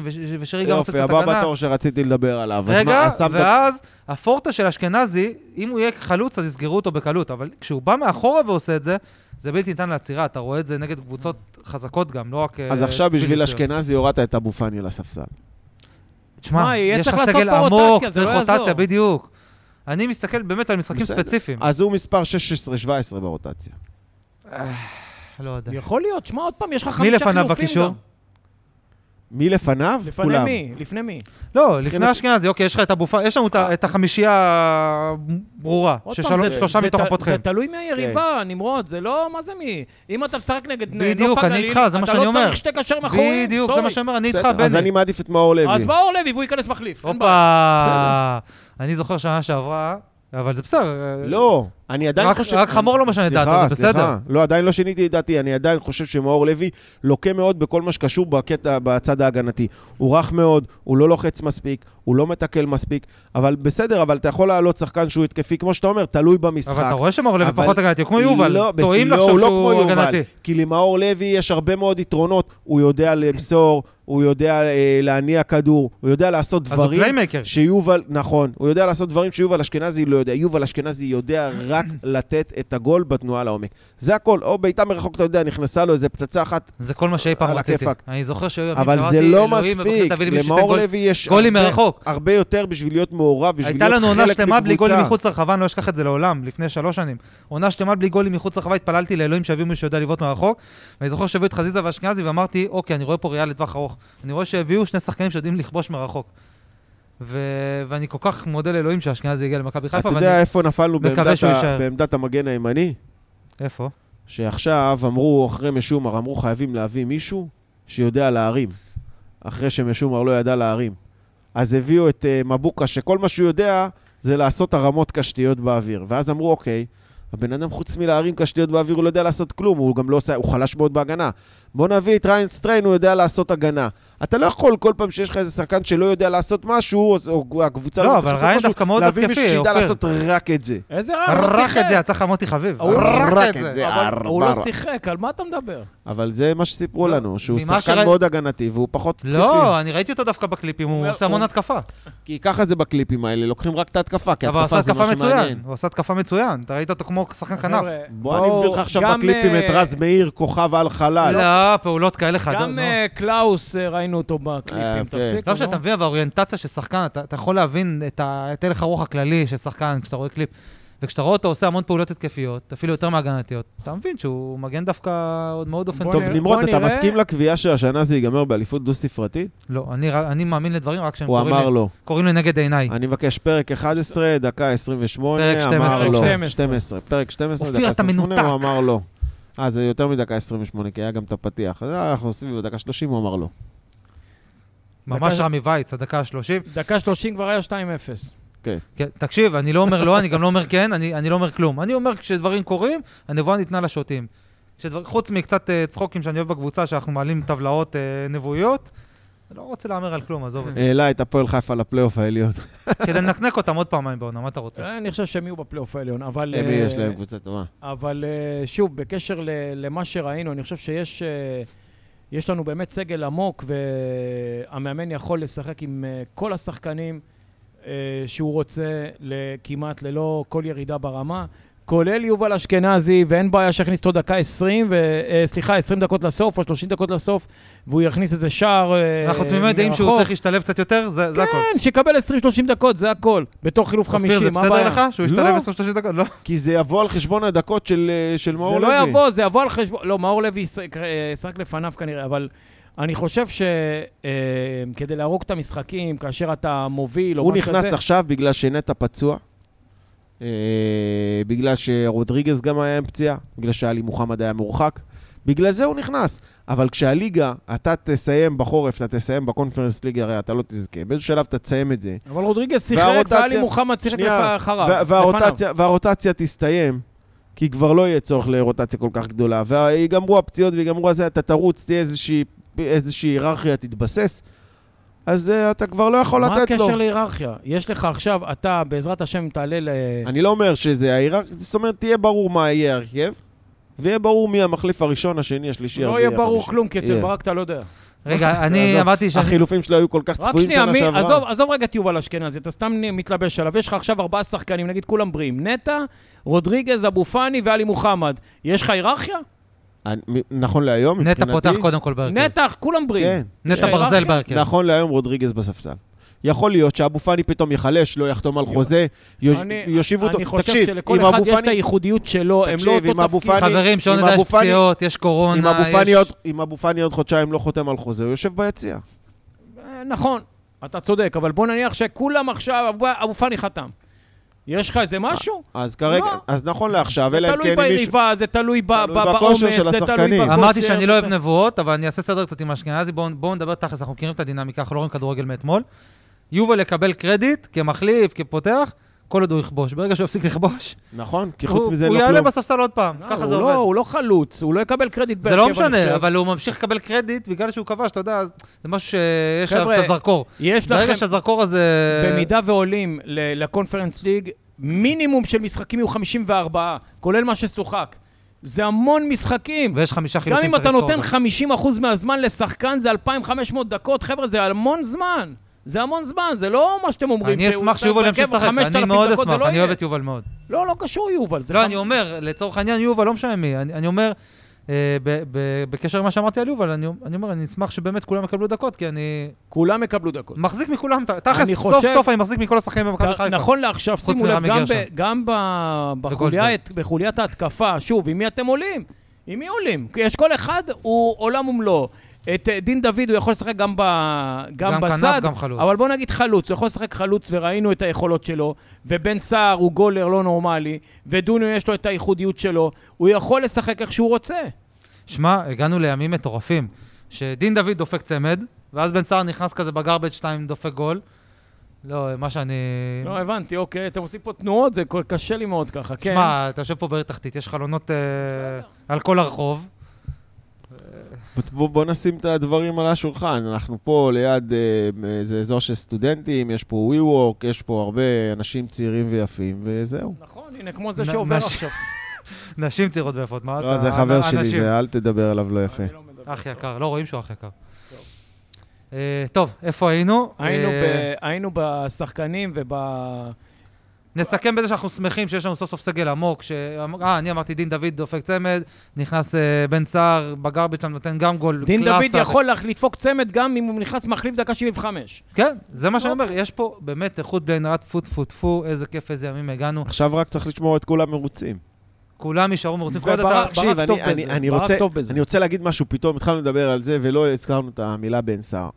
Speaker 3: וש- ושרי גם עושה
Speaker 2: יופי,
Speaker 3: קצת
Speaker 2: הבא
Speaker 3: הגנה.
Speaker 2: בתור שרציתי לדבר עליו. אז מה,
Speaker 3: רגע,
Speaker 2: אז שמת-
Speaker 3: ואז הפורטה של אשכנזי, אם הוא יהיה חלוץ, אז יסגרו אותו בקלות, אבל כשהוא בא מאחורה ועושה את זה, זה בלתי ניתן לעצירה, אתה רואה את זה נגד קבוצות חזקות גם, לא רק...
Speaker 2: אז
Speaker 3: אה,
Speaker 2: עכשיו בשביל
Speaker 3: בלתי-
Speaker 2: אשכנזי הורדת את אבו פאני לספסל.
Speaker 1: מה,
Speaker 3: תשמע,
Speaker 1: יהיה
Speaker 3: יש
Speaker 1: צריך
Speaker 3: לך
Speaker 1: לעשות
Speaker 3: סגל
Speaker 1: פה
Speaker 3: עמוק,
Speaker 1: רוטציה, זה
Speaker 3: צריך
Speaker 1: לא יעזור.
Speaker 3: רוטציה, בדיוק. אני מסתכל באמת על משחקים
Speaker 2: בסדר. אה,
Speaker 3: ספציפיים.
Speaker 2: אז הוא מספר 16-17 ברוטציה.
Speaker 3: לא יודע.
Speaker 1: יכול להיות, שמע, עוד פעם, יש לך
Speaker 3: מי
Speaker 1: חמישה
Speaker 3: לפניו
Speaker 1: חילופים
Speaker 3: בקישור?
Speaker 1: גם.
Speaker 2: מי לפניו?
Speaker 1: לפני
Speaker 2: כולם.
Speaker 1: מי? לפני מי?
Speaker 3: לא, לפני אשכנזי, אוקיי, יש לך את אבו פאני, יש לנו
Speaker 2: אה.
Speaker 3: את ה- את החמישייה הברורה,
Speaker 1: עוד פעם, זה-
Speaker 3: ששלושה
Speaker 1: זה
Speaker 3: מתוך
Speaker 1: ת-
Speaker 3: הפותחים.
Speaker 1: זה תלוי מהיריבה, נמרוד, זה לא, מה זה מי? אם אתה משחק נגד נ-
Speaker 3: בדיוק,
Speaker 1: נוף
Speaker 3: אני
Speaker 1: הגליל,
Speaker 3: איתך, זה מה שאני
Speaker 1: אתה לא
Speaker 3: אומר.
Speaker 1: צריך שתי קשרים אחוריים,
Speaker 3: בדיוק, זה
Speaker 1: סורי.
Speaker 3: מה שאני אומר, אני איתך,
Speaker 2: בסדר,
Speaker 3: בני.
Speaker 2: אז אני מעדיף את מאור לוי.
Speaker 1: אז באור לוי והוא ייכנס מחליף. אין בעיה.
Speaker 3: הופה, אני זוכר שנה שעברה, אבל זה בסדר. אה,
Speaker 2: לא, אני עדיין
Speaker 3: רק-
Speaker 2: חושב...
Speaker 3: רק חמור לא משנה את דעתו,
Speaker 2: סליחה,
Speaker 3: זה בסדר.
Speaker 2: סליחה. לא, עדיין לא שיניתי את דעתי. אני עדיין חושב שמאור לוי לוקה מאוד בכל מה שקשור בקטע, בצד ההגנתי. הוא רך מאוד, הוא לא לוחץ מספיק, הוא לא מתקל מספיק, אבל בסדר, אבל אתה יכול להעלות שחקן שהוא התקפי, כמו שאתה אומר, תלוי במשחק.
Speaker 3: אבל אתה רואה שמאור לוי
Speaker 2: אבל-
Speaker 3: פחות הגנתי, הוא כמו יובל,
Speaker 2: לא, בס-
Speaker 3: טועים
Speaker 2: לא,
Speaker 3: לחשוב
Speaker 2: הוא לא כמו
Speaker 3: שהוא
Speaker 2: יובל,
Speaker 3: הגנתי.
Speaker 2: כי למאור לוי יש הרבה מאוד יתרונות. הוא יודע למסור, הוא יודע אה, להניע כדור, הוא יודע לעשות
Speaker 3: אז הוא
Speaker 2: דברים.
Speaker 3: פליימקר.
Speaker 2: שיובל, נכון, הוא יודע לעשות דברים שיובל אשכנזי לא יודע. יובל אשכנזי יודע רק לתת את הגול בתנועה לעומק. זה הכל, או בעיטה מרחוק, אתה יודע, נכנסה לו איזה פצצה אחת,
Speaker 3: זה כל מה שאי פעם
Speaker 2: על
Speaker 3: רציתי.
Speaker 2: הכיפאק.
Speaker 3: אני זוכר שהיו ימים
Speaker 2: אבל זה
Speaker 3: שאמרתי,
Speaker 2: לא
Speaker 3: אלוהים, בבקשה
Speaker 2: מספיק.
Speaker 3: תביא לי מישהו שייתן
Speaker 2: למאור
Speaker 3: גול.
Speaker 2: לוי יש
Speaker 3: גולים
Speaker 2: הרבה-
Speaker 3: מרחוק.
Speaker 2: הרבה יותר בשביל להיות מעורב, בשביל
Speaker 3: הייתה
Speaker 2: להיות
Speaker 3: לנו עונה
Speaker 2: חלק
Speaker 3: שלמה בלי גולים
Speaker 2: מקבוצה.
Speaker 3: מחוץ לרחבה, אני לא אשכח את זה לעולם, לפני שלוש שנים. עונה שלמה בלי גולים מחוץ לרחבה, התפללתי לאלוהים שיביאו מישהו שיודע לבעוט מרחוק, ואני זוכר שהביאו את חזיזה ואשכנזי, ואמרתי, אוקיי, אני רואה פה ראייה לטווח ארוך. אני רואה שהביאו שני שחקנים שיודעים לכבוש מרחוק. ו... ואני כל כך מודה לאלוהים שאשכנזי הגיע למכבי חיפה,
Speaker 2: אתה
Speaker 3: ואני...
Speaker 2: יודע איפה נפלנו
Speaker 3: מקווה
Speaker 2: בעמדת
Speaker 3: שהוא
Speaker 2: ה-
Speaker 3: יישאר.
Speaker 2: בעמדת המגן הימני?
Speaker 3: איפה?
Speaker 2: שעכשיו אמרו, אחרי משומר, אמרו חייבים להביא מישהו שיודע להרים, אחרי שמשומר לא ידע להרים. אז הביאו את uh, מבוקה, שכל מה שהוא יודע זה לעשות הרמות קשתיות באוויר. ואז אמרו, אוקיי, הבן אדם חוץ מלהרים קשתיות באוויר, הוא לא יודע לעשות כלום, הוא גם לא עושה, הוא חלש מאוד בהגנה. בוא נביא את ריין סטריין, הוא יודע לעשות הגנה. אתה לא יכול כל פעם שיש לך איזה שחקן שלא יודע לעשות משהו, אז- או הקבוצה
Speaker 3: לא,
Speaker 2: לא
Speaker 3: אבל
Speaker 2: מצליחה
Speaker 3: ריין
Speaker 2: לעשות
Speaker 3: דווקא מאוד
Speaker 2: משהו, להביא מישהו
Speaker 3: התקפי,
Speaker 2: שידע
Speaker 3: אופיר.
Speaker 2: לעשות רק את זה.
Speaker 1: איזה רע, הוא לא
Speaker 3: ערך את זה,
Speaker 1: שיחק.
Speaker 3: יצא לך מוטי חביב.
Speaker 1: הוא לא
Speaker 3: ערך
Speaker 2: רק
Speaker 3: את
Speaker 2: את
Speaker 3: זה.
Speaker 2: זה.
Speaker 1: אבל הוא לא
Speaker 2: ארבע.
Speaker 1: שיחק, על מה אתה מדבר?
Speaker 2: אבל זה מה שסיפרו
Speaker 3: לא,
Speaker 2: לנו, שהוא
Speaker 3: ממה
Speaker 2: שחקן
Speaker 3: שראי-
Speaker 2: מאוד הגנתי והוא פחות התקפי.
Speaker 3: לא, אני ראיתי אותו דווקא בקליפים, הוא
Speaker 1: אומר-
Speaker 3: עושה המון
Speaker 1: הוא-
Speaker 3: התקפה.
Speaker 2: כי ככה זה בקליפים האלה, לוקחים רק את ההתקפה, כי
Speaker 3: אבל הוא עשה
Speaker 2: כן, התקפה זה
Speaker 3: התקפה
Speaker 2: מה
Speaker 3: מצוין,
Speaker 2: שמעניין.
Speaker 3: הוא עשה התקפה מצוין, אתה ראית אותו כמו שחקן כנף.
Speaker 1: אה, חבר'ה,
Speaker 2: בוא, אני מביא לך עכשיו
Speaker 1: גם,
Speaker 2: בקליפים את
Speaker 1: אה,
Speaker 2: רז מאיר, כוכב על חלל.
Speaker 3: לא, פעולות כאלה חדות.
Speaker 1: גם
Speaker 3: נו.
Speaker 1: אה, קלאוס אה, ראינו אותו
Speaker 2: אה,
Speaker 1: בקליפים,
Speaker 2: אוקיי.
Speaker 1: תפסיק.
Speaker 3: לא שאתה מבין, אבל האוריינטציה של שחקן, אתה, אתה יכול להבין את, ה, את הלך הרוח הכללי של שחקן כשאתה רואה קליפ. וכשאתה רואה אותו עושה המון פעולות התקפיות, אפילו יותר מהגנתיות, אתה מבין שהוא מגן דווקא עוד מאוד
Speaker 2: טוב,
Speaker 1: בוא
Speaker 3: אופנסיבי.
Speaker 1: נראה-
Speaker 2: נמרוד,
Speaker 1: בוא
Speaker 2: אתה
Speaker 1: נראה.
Speaker 2: מסכים לקביעה שהשנה זה ייגמר באליפות דו-ספרתית?
Speaker 3: לא, אני, ר- אני מאמין לדברים רק כשהם
Speaker 2: הוא
Speaker 3: קוראים,
Speaker 2: אמר
Speaker 3: לי,
Speaker 2: לא.
Speaker 3: קוראים לי נגד עיניי.
Speaker 2: אני מבקש פרק 11, דקה 28,
Speaker 3: פרק
Speaker 2: אמר
Speaker 3: 12,
Speaker 2: לא.
Speaker 1: 12.
Speaker 2: 12, פרק 12,
Speaker 3: אופיר,
Speaker 2: דקה
Speaker 3: אתה
Speaker 2: 28,
Speaker 3: מנותק.
Speaker 2: הוא אמר לא. אה, זה יותר מדקה 28, כי היה גם את הפתיח. אז אנחנו סביב הדקה 30, הוא אמר לא.
Speaker 3: ממש
Speaker 1: דקה-
Speaker 3: רמי וייץ, הדקה ה-30.
Speaker 1: דקה 30 כבר היה 2-0.
Speaker 3: כן, תקשיב, אני לא אומר לא, אני גם לא אומר כן, אני, אני לא אומר כלום. אני אומר כשדברים קורים, הנבואה ניתנה לשוטים. כשדבר, חוץ מקצת אה, צחוקים שאני אוהב בקבוצה, שאנחנו מעלים טבלאות אה, נבואיות, אני לא רוצה להמר על כלום, עזוב אותי.
Speaker 2: העלה את הפועל חיפה לפלייאוף העליון.
Speaker 3: כדי לנקנק אותם עוד פעמיים בעונה, מה אתה רוצה?
Speaker 1: אה, אני חושב שהם יהיו בפלייאוף העליון, אבל...
Speaker 2: למי
Speaker 1: אה,
Speaker 2: יש להם קבוצה טובה?
Speaker 1: אבל אה, שוב, בקשר ל- למה שראינו, אני חושב שיש אה, יש לנו באמת סגל עמוק, והמאמן יכול לשחק עם אה, כל השחקנים אה, שהוא רוצה, ל- כמעט ללא כל ירידה ברמה. כולל יובל אשכנזי, ואין בעיה שיכניס אותו דקה 20, ו... אה, סליחה, 20 דקות לסוף או 30 דקות לסוף, והוא יכניס איזה שער אה,
Speaker 3: אנחנו תמימי דעים שהוא
Speaker 1: מרחוק.
Speaker 3: צריך להשתלב קצת יותר, זה זה הכול.
Speaker 1: כן, שיקבל 20-30 דקות, זה הכל. בתור חילוף 50,
Speaker 3: אופיר, זה
Speaker 1: מה
Speaker 3: בסדר
Speaker 1: הבעיה?
Speaker 3: לך שהוא
Speaker 2: לא.
Speaker 3: ישתלב 20-30 דקות? לא.
Speaker 2: כי זה יבוא על חשבון הדקות של, אה, של מאור
Speaker 1: זה
Speaker 2: לוי.
Speaker 1: לא יבוא, זה יבוא על חשבון... לא, מאור לוי ישחק- אה, ישחק לפניו כנראה, אבל אני חושב שכדי להרוג את המשחקים, כאשר אתה מוביל או
Speaker 2: הוא
Speaker 1: משהו כזה...
Speaker 2: נכנס עכשיו בגלל שנטע פצוע, אה, בגלל שרודריגז גם היה עם פציעה, בגלל שאלי מוחמד היה מורחק. בגלל זה הוא נכנס. אבל כשהליגה, אתה תסיים בחורף, אתה תסיים בקונפרנס ליג, הרי אתה לא תזכה. באיזה שלב אתה תסיים את זה.
Speaker 1: אבל רודריגז שיחק,
Speaker 2: והרוטציה-
Speaker 1: ואלי מוחמד שיחק
Speaker 2: שנייה,
Speaker 1: לפ- אחריו,
Speaker 2: וה-
Speaker 1: לפניו.
Speaker 2: והרוטציה, והרוטציה תסתיים, כי כבר לא יהיה צורך לרוטציה כל כך גדולה, ויגמרו הפציעות ויגמרו הזה, אתה תרוץ, תהיה איזושהי, איזושהי היררכיה, תתבסס, אז אה, אתה כבר לא יכול
Speaker 1: מה
Speaker 2: לתת לו.
Speaker 1: הקשר להיררכיה? יש לך עכשיו, אתה בעזרת השם תעלה ל...
Speaker 2: אני לא אומר שזה ההיררכיה, זאת אומרת, תהיה ברור מה יהיה ההרכב, ויהיה ברור מי המחליף הראשון, השני, השלישי,
Speaker 1: לא
Speaker 2: הרביעי,
Speaker 1: יהיה ברור
Speaker 2: החמישי.
Speaker 1: כלום, כי אצל
Speaker 2: יהיה.
Speaker 1: ברק אתה לא יודע.
Speaker 3: רגע, אני
Speaker 2: עזוב.
Speaker 3: אמרתי שאני...
Speaker 2: החילופים שלו היו כל כך
Speaker 1: רק
Speaker 2: צפויים
Speaker 1: שנייה,
Speaker 2: שנה
Speaker 1: מי,
Speaker 2: שעברה.
Speaker 1: עזוב, עזוב רגע את יובל אשכנזי, אתה סתם מתלבש עליו. יש לך עכשיו ארבעה שחקנים, נגיד כולם בריאים. נטע, רודריגז, אבו פאני ואלי מוחמד. יש לך היררכיה?
Speaker 2: אני- מ- נכון להיום,
Speaker 3: נטע
Speaker 2: מבחינתי,
Speaker 3: פותח קודם כל בהרכב.
Speaker 1: נטע, כולם בריאים.
Speaker 2: כן.
Speaker 3: נטע
Speaker 1: אה,
Speaker 3: ברזל
Speaker 1: היררכיה?
Speaker 3: בהרכב.
Speaker 2: נכון להיום רודריגז בספסל. יכול להיות שאבו פאני פתאום ייחלש, לא יחתום על חוזה, יוש-
Speaker 1: אני-
Speaker 2: יושיבו אותו.
Speaker 1: אני חושב
Speaker 2: תקשיב,
Speaker 1: שלכל
Speaker 2: אם
Speaker 1: אחד
Speaker 2: אבו
Speaker 1: יש את
Speaker 2: פאני-
Speaker 1: הייחודיות שלו, הם
Speaker 2: תקשיב,
Speaker 1: לא
Speaker 2: אם אבו
Speaker 1: אותו תפקיד.
Speaker 2: פאני-
Speaker 3: חברים, שעוד
Speaker 2: עם
Speaker 3: נדע
Speaker 2: אבו
Speaker 3: יש
Speaker 2: פאני-
Speaker 3: פציעות, יש
Speaker 2: אם
Speaker 3: קורונה,
Speaker 2: אבו פאני
Speaker 3: יש...
Speaker 2: עוד- אם אבו פאני עוד חודשיים לא חותם על חוזה, הוא יושב ביציע.
Speaker 1: אה, נכון, אתה צודק, אבל בוא נניח שכולם עכשיו, אבו- אבו פאני חתם. יש לך איזה משהו?
Speaker 2: אז כרגע,
Speaker 1: לא.
Speaker 2: אז נכון לעכשיו, אלא
Speaker 1: זה
Speaker 2: אם
Speaker 1: תלוי
Speaker 2: כן אם מישהו...
Speaker 1: ביריבה, זה תלוי ב- ב-
Speaker 2: תלוי
Speaker 1: בעומס,
Speaker 2: בכושר של
Speaker 1: זה תלוי
Speaker 2: השחקנים.
Speaker 1: בכושר.
Speaker 3: אמרתי
Speaker 2: אה,
Speaker 3: שאני לא אוהב
Speaker 1: זה-
Speaker 3: נבואות, אבל אני אעשה סדר קצת עם אשכנזי. בואו בואו נדבר תכלס, אנחנו מכירים את הדינמיקה, אנחנו לא רואים כדורגל מאתמול. יובל יקבל קרדיט כמחליף, כפותח, כל עוד הוא יכבוש. ברגע שהוא יפסיק לכבוש,
Speaker 2: נכון, כי חוץ
Speaker 3: הוא
Speaker 2: מזה
Speaker 3: הוא
Speaker 2: לא
Speaker 3: יעלה
Speaker 2: כלום.
Speaker 3: בספסל עוד פעם.
Speaker 1: לא,
Speaker 3: ככה
Speaker 1: הוא
Speaker 3: זה
Speaker 1: לא-
Speaker 3: עובד.
Speaker 1: הוא לא חלוץ, הוא לא יקבל קרדיט
Speaker 3: זה לא
Speaker 1: בהרכב, אני חושב.
Speaker 3: משנה, אבל הוא ממשיך לקבל קרדיט בגלל שהוא כבש, אתה יודע, אז זה משהו שיש עליו
Speaker 1: חבר'ה,
Speaker 3: את הזרקור.
Speaker 1: יש לכם...
Speaker 3: ברגע שהזרקור הזה...
Speaker 1: במידה ועולים ל- לקונפרנס ליג, מינימום של משחקים יהיו 54, כולל מה ששוחק. זה המון משחקים.
Speaker 3: ויש חמישה
Speaker 1: גם
Speaker 3: חילופים,
Speaker 1: אם אתה
Speaker 3: צריך לזכור
Speaker 1: נותן
Speaker 3: את זה.
Speaker 1: 50% מהזמן לשחקן, זה 2,500 דקות, חבר'ה, זה המון זמן. זה המון זמן, זה לא מה שאתם אומרים.
Speaker 3: אני
Speaker 1: שהוא
Speaker 3: אשמח שיובל
Speaker 1: בהרכב
Speaker 3: ימשיך לשחק,
Speaker 1: 5,000
Speaker 3: אני מאוד
Speaker 1: דקות, זה
Speaker 3: אשמח,
Speaker 1: לא
Speaker 3: אני
Speaker 1: יהיה.
Speaker 3: אוהב את יובל מאוד.
Speaker 1: לא, לא קשור יובל. זה
Speaker 3: לא,
Speaker 1: חם-
Speaker 3: אני אומר, לצורך העניין, יובל, לא משנה מי, אני אני אומר, אה, ב- ב- בקשר למה שאמרתי על יובל, אני אני אומר, אני אשמח שבאמת כולם יקבלו דקות, כי אני
Speaker 1: כולם יקבלו דקות.
Speaker 3: מחזיק מכולם, ת- תכלס,
Speaker 1: אני
Speaker 3: סוף
Speaker 1: חושב-
Speaker 3: סוף אני מחזיק מכל השחקנים במכבי
Speaker 1: כ-
Speaker 3: חיפה.
Speaker 1: נכון לעכשיו, שימו לב,
Speaker 3: מרמי
Speaker 1: גם,
Speaker 3: גרשון.
Speaker 1: ב, גם ב, בחוליית, בחוליית ההתקפה, שוב, עם מי אתם עולים? עם מי עולים? כי יש כל אחד, הוא עולם ומלואו. את אה, דין דוד, הוא יכול לשחק גם, ב, גם,
Speaker 3: גם כנף,
Speaker 1: בצד,
Speaker 3: גם חלוץ.
Speaker 1: אבל בוא נגיד חלוץ, הוא יכול לשחק חלוץ וראינו את היכולות שלו, ובן סער הוא גולר לא נורמלי, ודוניו יש לו את הייחודיות שלו, הוא יכול לשחק איך שהוא רוצה.
Speaker 3: שמע, הגענו לימים מטורפים, שדין דוד דופק צמד, ואז בן סער נכנס כזה בגרבג' 2 דופק גול. לא, מה שאני...
Speaker 1: לא, הבנתי, אוקיי, אתם עושים פה תנועות, זה כל- קשה לי מאוד ככה, כן.
Speaker 3: שמע, אתה יושב פה בעיר תחתית, יש חלונות אה, על כל הרחוב.
Speaker 2: בוא בוא נשים את הדברים על השולחן. אנחנו פה ליד אה, איזה אזור של סטודנטים, יש פה ווי ווק, יש פה הרבה אנשים צעירים ויפים, וזהו.
Speaker 1: נכון, הנה, כמו זה
Speaker 3: נ-
Speaker 1: שעובר
Speaker 3: נש-
Speaker 1: עכשיו.
Speaker 3: נשים צעירות ויפות, מה אתה...
Speaker 2: לא, זה חבר שלי,
Speaker 3: אנשים.
Speaker 2: זה אל תדבר עליו לא יפה.
Speaker 1: אני לא מדבר.
Speaker 3: אח יקר, לא רואים שהוא אח יקר. אה, טוב, איפה היינו?
Speaker 1: היינו,
Speaker 3: אה,
Speaker 1: ב, היינו בשחקנים וב...
Speaker 3: נסכם בזה שאנחנו שמחים שיש לנו סוף סוף סגל עמוק. ש... אה, אני אמרתי, דין דוד דופק צמד, נכנס אה, בן סער, בגרביץ' שם נותן גם גול.
Speaker 1: דין
Speaker 3: קלאסה.
Speaker 1: דוד יכול לך לדפוק צמד גם אם הוא נכנס מחליף דקה 75.
Speaker 3: כן, זה מה שאני
Speaker 1: אוקיי.
Speaker 3: אומר, יש פה באמת איכות בלי עין הרע, טפו טפו טפו, איזה כיף, איזה ימים הגענו.
Speaker 2: עכשיו רק צריך לשמור את כולם מרוצים.
Speaker 3: כולם נשארו מרוצים. כל עוד
Speaker 1: וברק-
Speaker 3: אתה...
Speaker 2: תקשיב,
Speaker 1: ברק טוב
Speaker 2: אני, אני,
Speaker 1: בזה,
Speaker 2: אני,
Speaker 1: ברק
Speaker 2: רוצה,
Speaker 1: טוב בזה.
Speaker 2: אני רוצה להגיד משהו, פתאום התחלנו לדבר על זה ולא הזכרנו את המילה בן סער.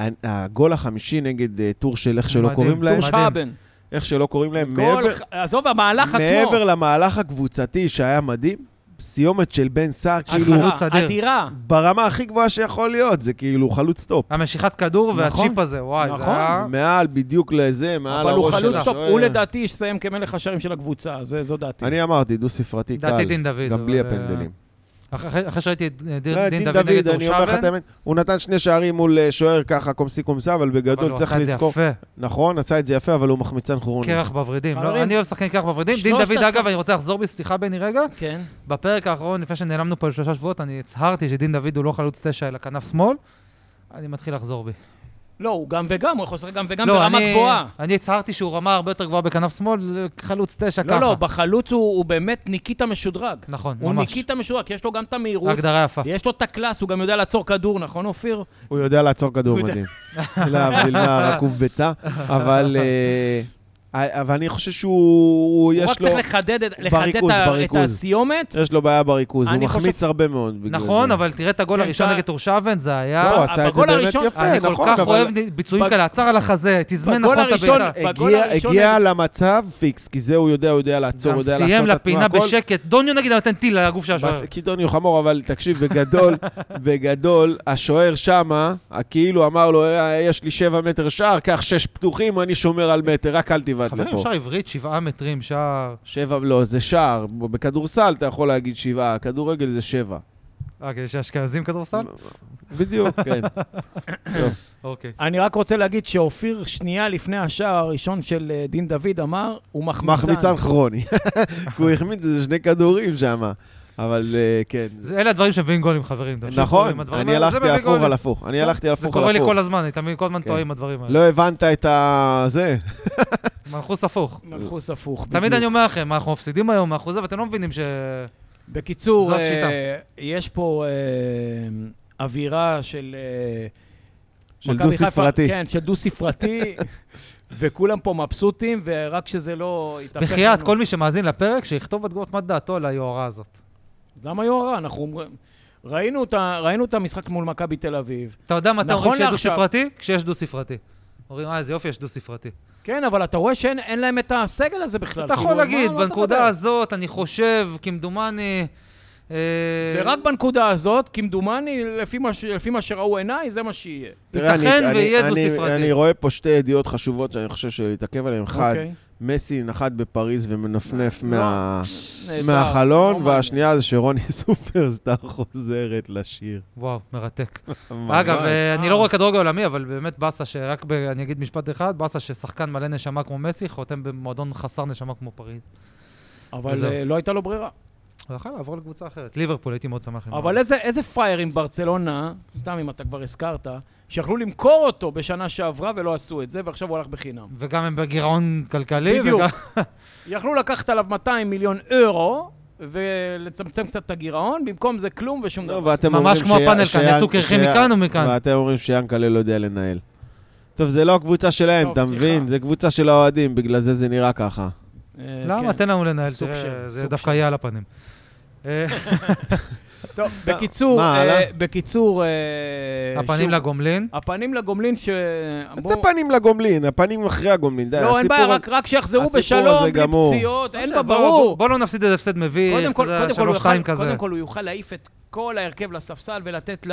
Speaker 2: ה- הגול החמישי נגד אה, טור של איך שלא
Speaker 3: מדהים,
Speaker 2: קוראים להם,
Speaker 1: טור
Speaker 3: מדהים.
Speaker 1: שבן.
Speaker 2: איך שלא קוראים להם,
Speaker 1: גול,
Speaker 2: מעבר,
Speaker 1: עזוב, המהלך עצמו.
Speaker 2: מעבר למהלך הקבוצתי שהיה מדהים, סיומת של בן סער, כאילו,
Speaker 1: אדירה,
Speaker 3: חלוץ אדיר.
Speaker 1: אדירה.
Speaker 2: ברמה הכי גבוהה שיכול להיות, זה כאילו חלוץ טופ.
Speaker 3: המשיכת כדור
Speaker 1: נכון.
Speaker 3: והצ'יפ הזה, וואי, זה
Speaker 1: נכון.
Speaker 3: היה...
Speaker 2: מעל, בדיוק לזה, מעל
Speaker 1: אבל הוא
Speaker 2: הראש של
Speaker 1: חלוץ טופ.
Speaker 2: השוער.
Speaker 1: הוא לדעתי יסיים כמלך השערים של הקבוצה, זה- זו דעתי.
Speaker 2: אני אמרתי, דו-ספרתי
Speaker 3: דעתי
Speaker 2: קל,
Speaker 3: דין דוד.
Speaker 2: גם בלי
Speaker 3: אבל, אה,
Speaker 2: הפנדלים.
Speaker 3: אחרי אחרי שראיתי את אה,
Speaker 2: לא,
Speaker 3: דין- דין דוד נגד
Speaker 2: אני אומר לך את
Speaker 3: דורשבן,
Speaker 2: האמת, הוא נתן שני שערים מול אה, שוער ככה, קומסי קומסה, אבל
Speaker 3: אבל
Speaker 2: בגדול
Speaker 3: הוא
Speaker 2: לא צריך
Speaker 3: עשה את זה
Speaker 2: לזכור.
Speaker 3: יפה.
Speaker 2: נכון, עשה את זה יפה, אבל הוא מחמיצן חורוני.
Speaker 3: קרח בוורידים. לא,
Speaker 1: חברים,
Speaker 3: אני אוהב שחקן קרח בוורידים. דין
Speaker 1: שלושת
Speaker 3: דוד,
Speaker 1: עשר-
Speaker 3: אגב, אני רוצה לחזור בי, סליחה בני רגע.
Speaker 1: כן.
Speaker 3: בפרק האחרון, לפני שנעלמנו פה לשלושה שבועות, אני הצהרתי שדין דוד הוא לא חלוץ תשע, אלא כנף שמאל. אני מתחיל לחזור בי.
Speaker 1: לא, הוא גם וגם, הוא יכול לשחק גם וגם
Speaker 3: לא,
Speaker 1: ברמה
Speaker 3: אני-
Speaker 1: גבוהה.
Speaker 3: אני הצהרתי שהוא רמה הרבה יותר גבוהה בכנף שמאל, חלוץ תשע ככה.
Speaker 1: לא, לא, בחלוץ הוא הוא באמת ניקיטה משודרג.
Speaker 3: נכון,
Speaker 1: הוא
Speaker 3: ממש.
Speaker 1: ניקיטה כן, משודרג, יש לו גם את המהירות,
Speaker 3: הגדרה יפה.
Speaker 1: יש לו את הקלאס, הוא גם יודע לעצור כדור, נכון, אופיר?
Speaker 2: הוא יודע לעצור כדור
Speaker 1: הוא יודע.
Speaker 2: מדהים. להבדיל מהרקוב ביצה, אבל... אה, אבל אני חושב שהוא, הוא-
Speaker 1: הוא רק
Speaker 2: יש לו,
Speaker 1: צריך לחדד את- לחדד
Speaker 2: בריכוז,
Speaker 1: את ה- את
Speaker 2: בריכוז. אה,
Speaker 1: הסיומת.
Speaker 2: יש לו בעיה בריכוז, הוא
Speaker 1: אני
Speaker 2: מחמיץ
Speaker 1: חושב-
Speaker 2: הרבה מאוד בגלל זה.
Speaker 3: נכון, אבל תראה את הגול
Speaker 1: כן,
Speaker 3: הראשון
Speaker 1: אתה-
Speaker 3: נגד טורשבן, זה היה...
Speaker 2: לא, הוא עשה את זה
Speaker 1: בגול
Speaker 2: באמת
Speaker 1: הראשון-
Speaker 2: יפה,
Speaker 3: אני כל
Speaker 2: נכון,
Speaker 3: כך
Speaker 2: אבל-
Speaker 3: אוהב ביצועים
Speaker 1: בג-
Speaker 3: כאלה, עצר על החזה, תזמן
Speaker 1: בגול
Speaker 3: נכון את
Speaker 1: הראשון-
Speaker 3: הבעיטה.
Speaker 1: בגול
Speaker 2: הגיע,
Speaker 1: הראשון
Speaker 2: הגיע למצב פיקס, כי זה הוא יודע, הוא יודע לעצור,
Speaker 3: גם
Speaker 2: הוא יודע לעשות
Speaker 3: סיים
Speaker 2: את התנועה,
Speaker 3: לפינה
Speaker 2: הכל.
Speaker 3: בשקט, דוניו נגיד נתן טיל על הגוף של השוער.
Speaker 2: בס- קידוני הוא חמור, אבל תקשיב, בגדול, בגדול, השוער שמה, כאילו אמר לו, "אה, יש לי שבע מטר שער, קח שש פתוחים, אני שומר על מטר, רק אל תבעט
Speaker 3: חברים,
Speaker 2: לפה.
Speaker 3: אפשר עברית, שבעה מטרים, שער.
Speaker 2: שבע, לא, זה שער. בכדורסל אתה יכול להגיד שבעה, כדורגל זה שבע.
Speaker 3: אה, כדי שאשכנזים כדורסל?
Speaker 2: לא. בדיוק, כן. טוב.
Speaker 3: אוקיי.
Speaker 1: אני רק רוצה להגיד שאופיר, שנייה לפני השער הראשון של אה, דין דוד, אמר, הוא מחמיצן.
Speaker 2: מחמיצן כרוני. כי הוא החמיץ איזה שני כדורים שם. אבל אה, כן.
Speaker 3: זה- אלה הדברים שמביאים גולים, חברים. תמשיכו עם
Speaker 2: נכון,
Speaker 3: הדברים
Speaker 2: אני
Speaker 3: האלה, זה
Speaker 2: הלכתי
Speaker 3: מביא
Speaker 2: הפוך
Speaker 3: גולים.
Speaker 2: על הפוך. אני הלכתי
Speaker 3: זה
Speaker 2: הפוך
Speaker 3: קורה
Speaker 2: על
Speaker 3: לי
Speaker 2: הפוך.
Speaker 3: כל הזמן, אני תמיד כל הזמן
Speaker 2: כן.
Speaker 3: טועה עם הדברים האלה.
Speaker 2: לא הבנת את ה... זה.
Speaker 3: מנחוס הפוך.
Speaker 1: מנחוס הפוך.
Speaker 3: תמיד
Speaker 1: בדיוק.
Speaker 3: אני אומר לכם, אנחנו מפסידים היום, אנחנו זה, ואתם לא מבינים ש...
Speaker 1: בקיצור,
Speaker 3: זאת
Speaker 1: אה,
Speaker 3: שיטה.
Speaker 1: יש פה אה, אווירה של... אה,
Speaker 2: של
Speaker 1: מכבי חיפה-
Speaker 2: דו-ספרתי.
Speaker 1: כן, של דו-ספרתי, וכולם פה מבסוטים, ורק שזה לא יתהפך לנו.
Speaker 3: בחייאת, כל מי שמאזין לפרק, שיכתוב בתגובות מה דעתו על היוהרה הזאת.
Speaker 1: למה יוהרה? אנחנו אומרים... ראינו את ה- ראינו את המשחק מול מכבי תל אביב.
Speaker 3: אתה יודע מתי
Speaker 1: נכון
Speaker 3: אומרים שיש
Speaker 1: לעכשיו.
Speaker 3: דו-ספרתי? כשיש דו-ספרתי. אומרים, אה, איזה יופי, יש דו-ספרתי.
Speaker 1: כן, אבל אתה רואה שאין אין להם את הסגל הזה בכלל.
Speaker 3: אתה
Speaker 1: כאילו,
Speaker 3: יכול
Speaker 1: על מה-
Speaker 3: להגיד,
Speaker 1: על מה אתה
Speaker 3: בנקודה
Speaker 1: מדבר?
Speaker 3: הזאת, אני חושב, כמדומני... אה,
Speaker 1: זה רק בנקודה הזאת, כמדומני, לפי מה ש- לפי מה שראו עיניי, זה מה שיהיה.
Speaker 2: תראה, אני-
Speaker 3: ייתכן
Speaker 2: אני-
Speaker 3: ויהיה
Speaker 2: אני-
Speaker 3: דו-ספרתי.
Speaker 2: אני רואה פה שתי ידיעות חשובות שאני חושב שלהתעכב עליהן. אחד,
Speaker 1: אוקיי?
Speaker 2: מסי נחת בפריז ומנפנף
Speaker 1: לא.
Speaker 2: מה-
Speaker 1: נהדר, לא
Speaker 2: מהחלון,
Speaker 1: מעניין.
Speaker 2: והשנייה זה שרוני סופרסטאר חוזרת לשיר.
Speaker 3: וואו, מרתק.
Speaker 2: ממש.
Speaker 3: אגב, אה, אני
Speaker 1: אה.
Speaker 3: לא רואה כדורגל עולמי, אבל באמת באסה שרק, ב- אני אגיד משפט אחד, באסה ששחקן מלא נשמה כמו מסי, חותם במועדון חסר נשמה כמו פריז.
Speaker 1: אבל
Speaker 3: וזהו.
Speaker 1: אה, לא הייתה לו ברירה.
Speaker 3: הוא יכל לעבור לקבוצה אחרת. ליברפול, הייתי מאוד שמח. אם הוא
Speaker 1: אבל
Speaker 3: היה.
Speaker 1: איזה, איזה פראייר עם ברצלונה, סתם אם אתה כבר הזכרת, שיכלו למכור אותו בשנה שעברה ולא עשו את זה, ועכשיו הוא הלך בחינם.
Speaker 3: וגם הם בגירעון כלכלי.
Speaker 1: בדיוק.
Speaker 3: וגם-
Speaker 1: יכלו לקחת עליו 200 מיליון אירו, ולצמצם קצת את הגירעון, במקום זה כלום ושום
Speaker 2: לא,
Speaker 1: דבר.
Speaker 2: ואתם
Speaker 3: ממש
Speaker 2: אומרים
Speaker 3: כמו
Speaker 2: שיה-
Speaker 3: הפאנל כאן,
Speaker 2: שיה-
Speaker 3: יצאו קרחים
Speaker 2: שיה-
Speaker 3: מכאן ומכאן.
Speaker 2: ואתם אומרים שיאנקלה לא יודע לנהל. טוב, זה לא הקבוצה שלהם,
Speaker 1: טוב,
Speaker 2: אתה
Speaker 1: סליחה.
Speaker 2: מבין? זה קבוצה של האוהדים, בגלל זה זה נראה ככה.
Speaker 1: אה,
Speaker 3: למה?
Speaker 1: כן.
Speaker 3: תן לנו לנהל,
Speaker 1: סוג
Speaker 3: תראה,
Speaker 1: של-
Speaker 3: זה
Speaker 1: סוג
Speaker 3: דווקא
Speaker 1: של.
Speaker 3: יהיה על הפנים. אה,
Speaker 1: טוב, בקיצור,
Speaker 2: מה,
Speaker 1: אה,
Speaker 2: הלאה?
Speaker 1: בקיצור... אה,
Speaker 3: הפנים
Speaker 1: שוב,
Speaker 3: לגומלין.
Speaker 1: הפנים לגומלין ש...
Speaker 2: זה פנים לגומלין, הפנים אחרי הגומלין, די,
Speaker 1: לא, אין
Speaker 2: הסיפור
Speaker 1: בעיה,
Speaker 2: על-
Speaker 1: רק- רק שיחזרו
Speaker 2: הסיפור הזה
Speaker 1: בשלום, בלי
Speaker 2: גמור.
Speaker 1: פציעות, אין בה
Speaker 3: בוא-
Speaker 1: ברור.
Speaker 3: בוא- בוא לא נפסיד איזה הפסד מביך,
Speaker 1: קודם כל,
Speaker 3: אתה יודע,
Speaker 1: קודם כל, הוא
Speaker 3: 3-2
Speaker 1: יוכל,
Speaker 3: כזה.
Speaker 1: קודם כל הוא יוכל להעיף את כל ההרכב לספסל ולתת ל...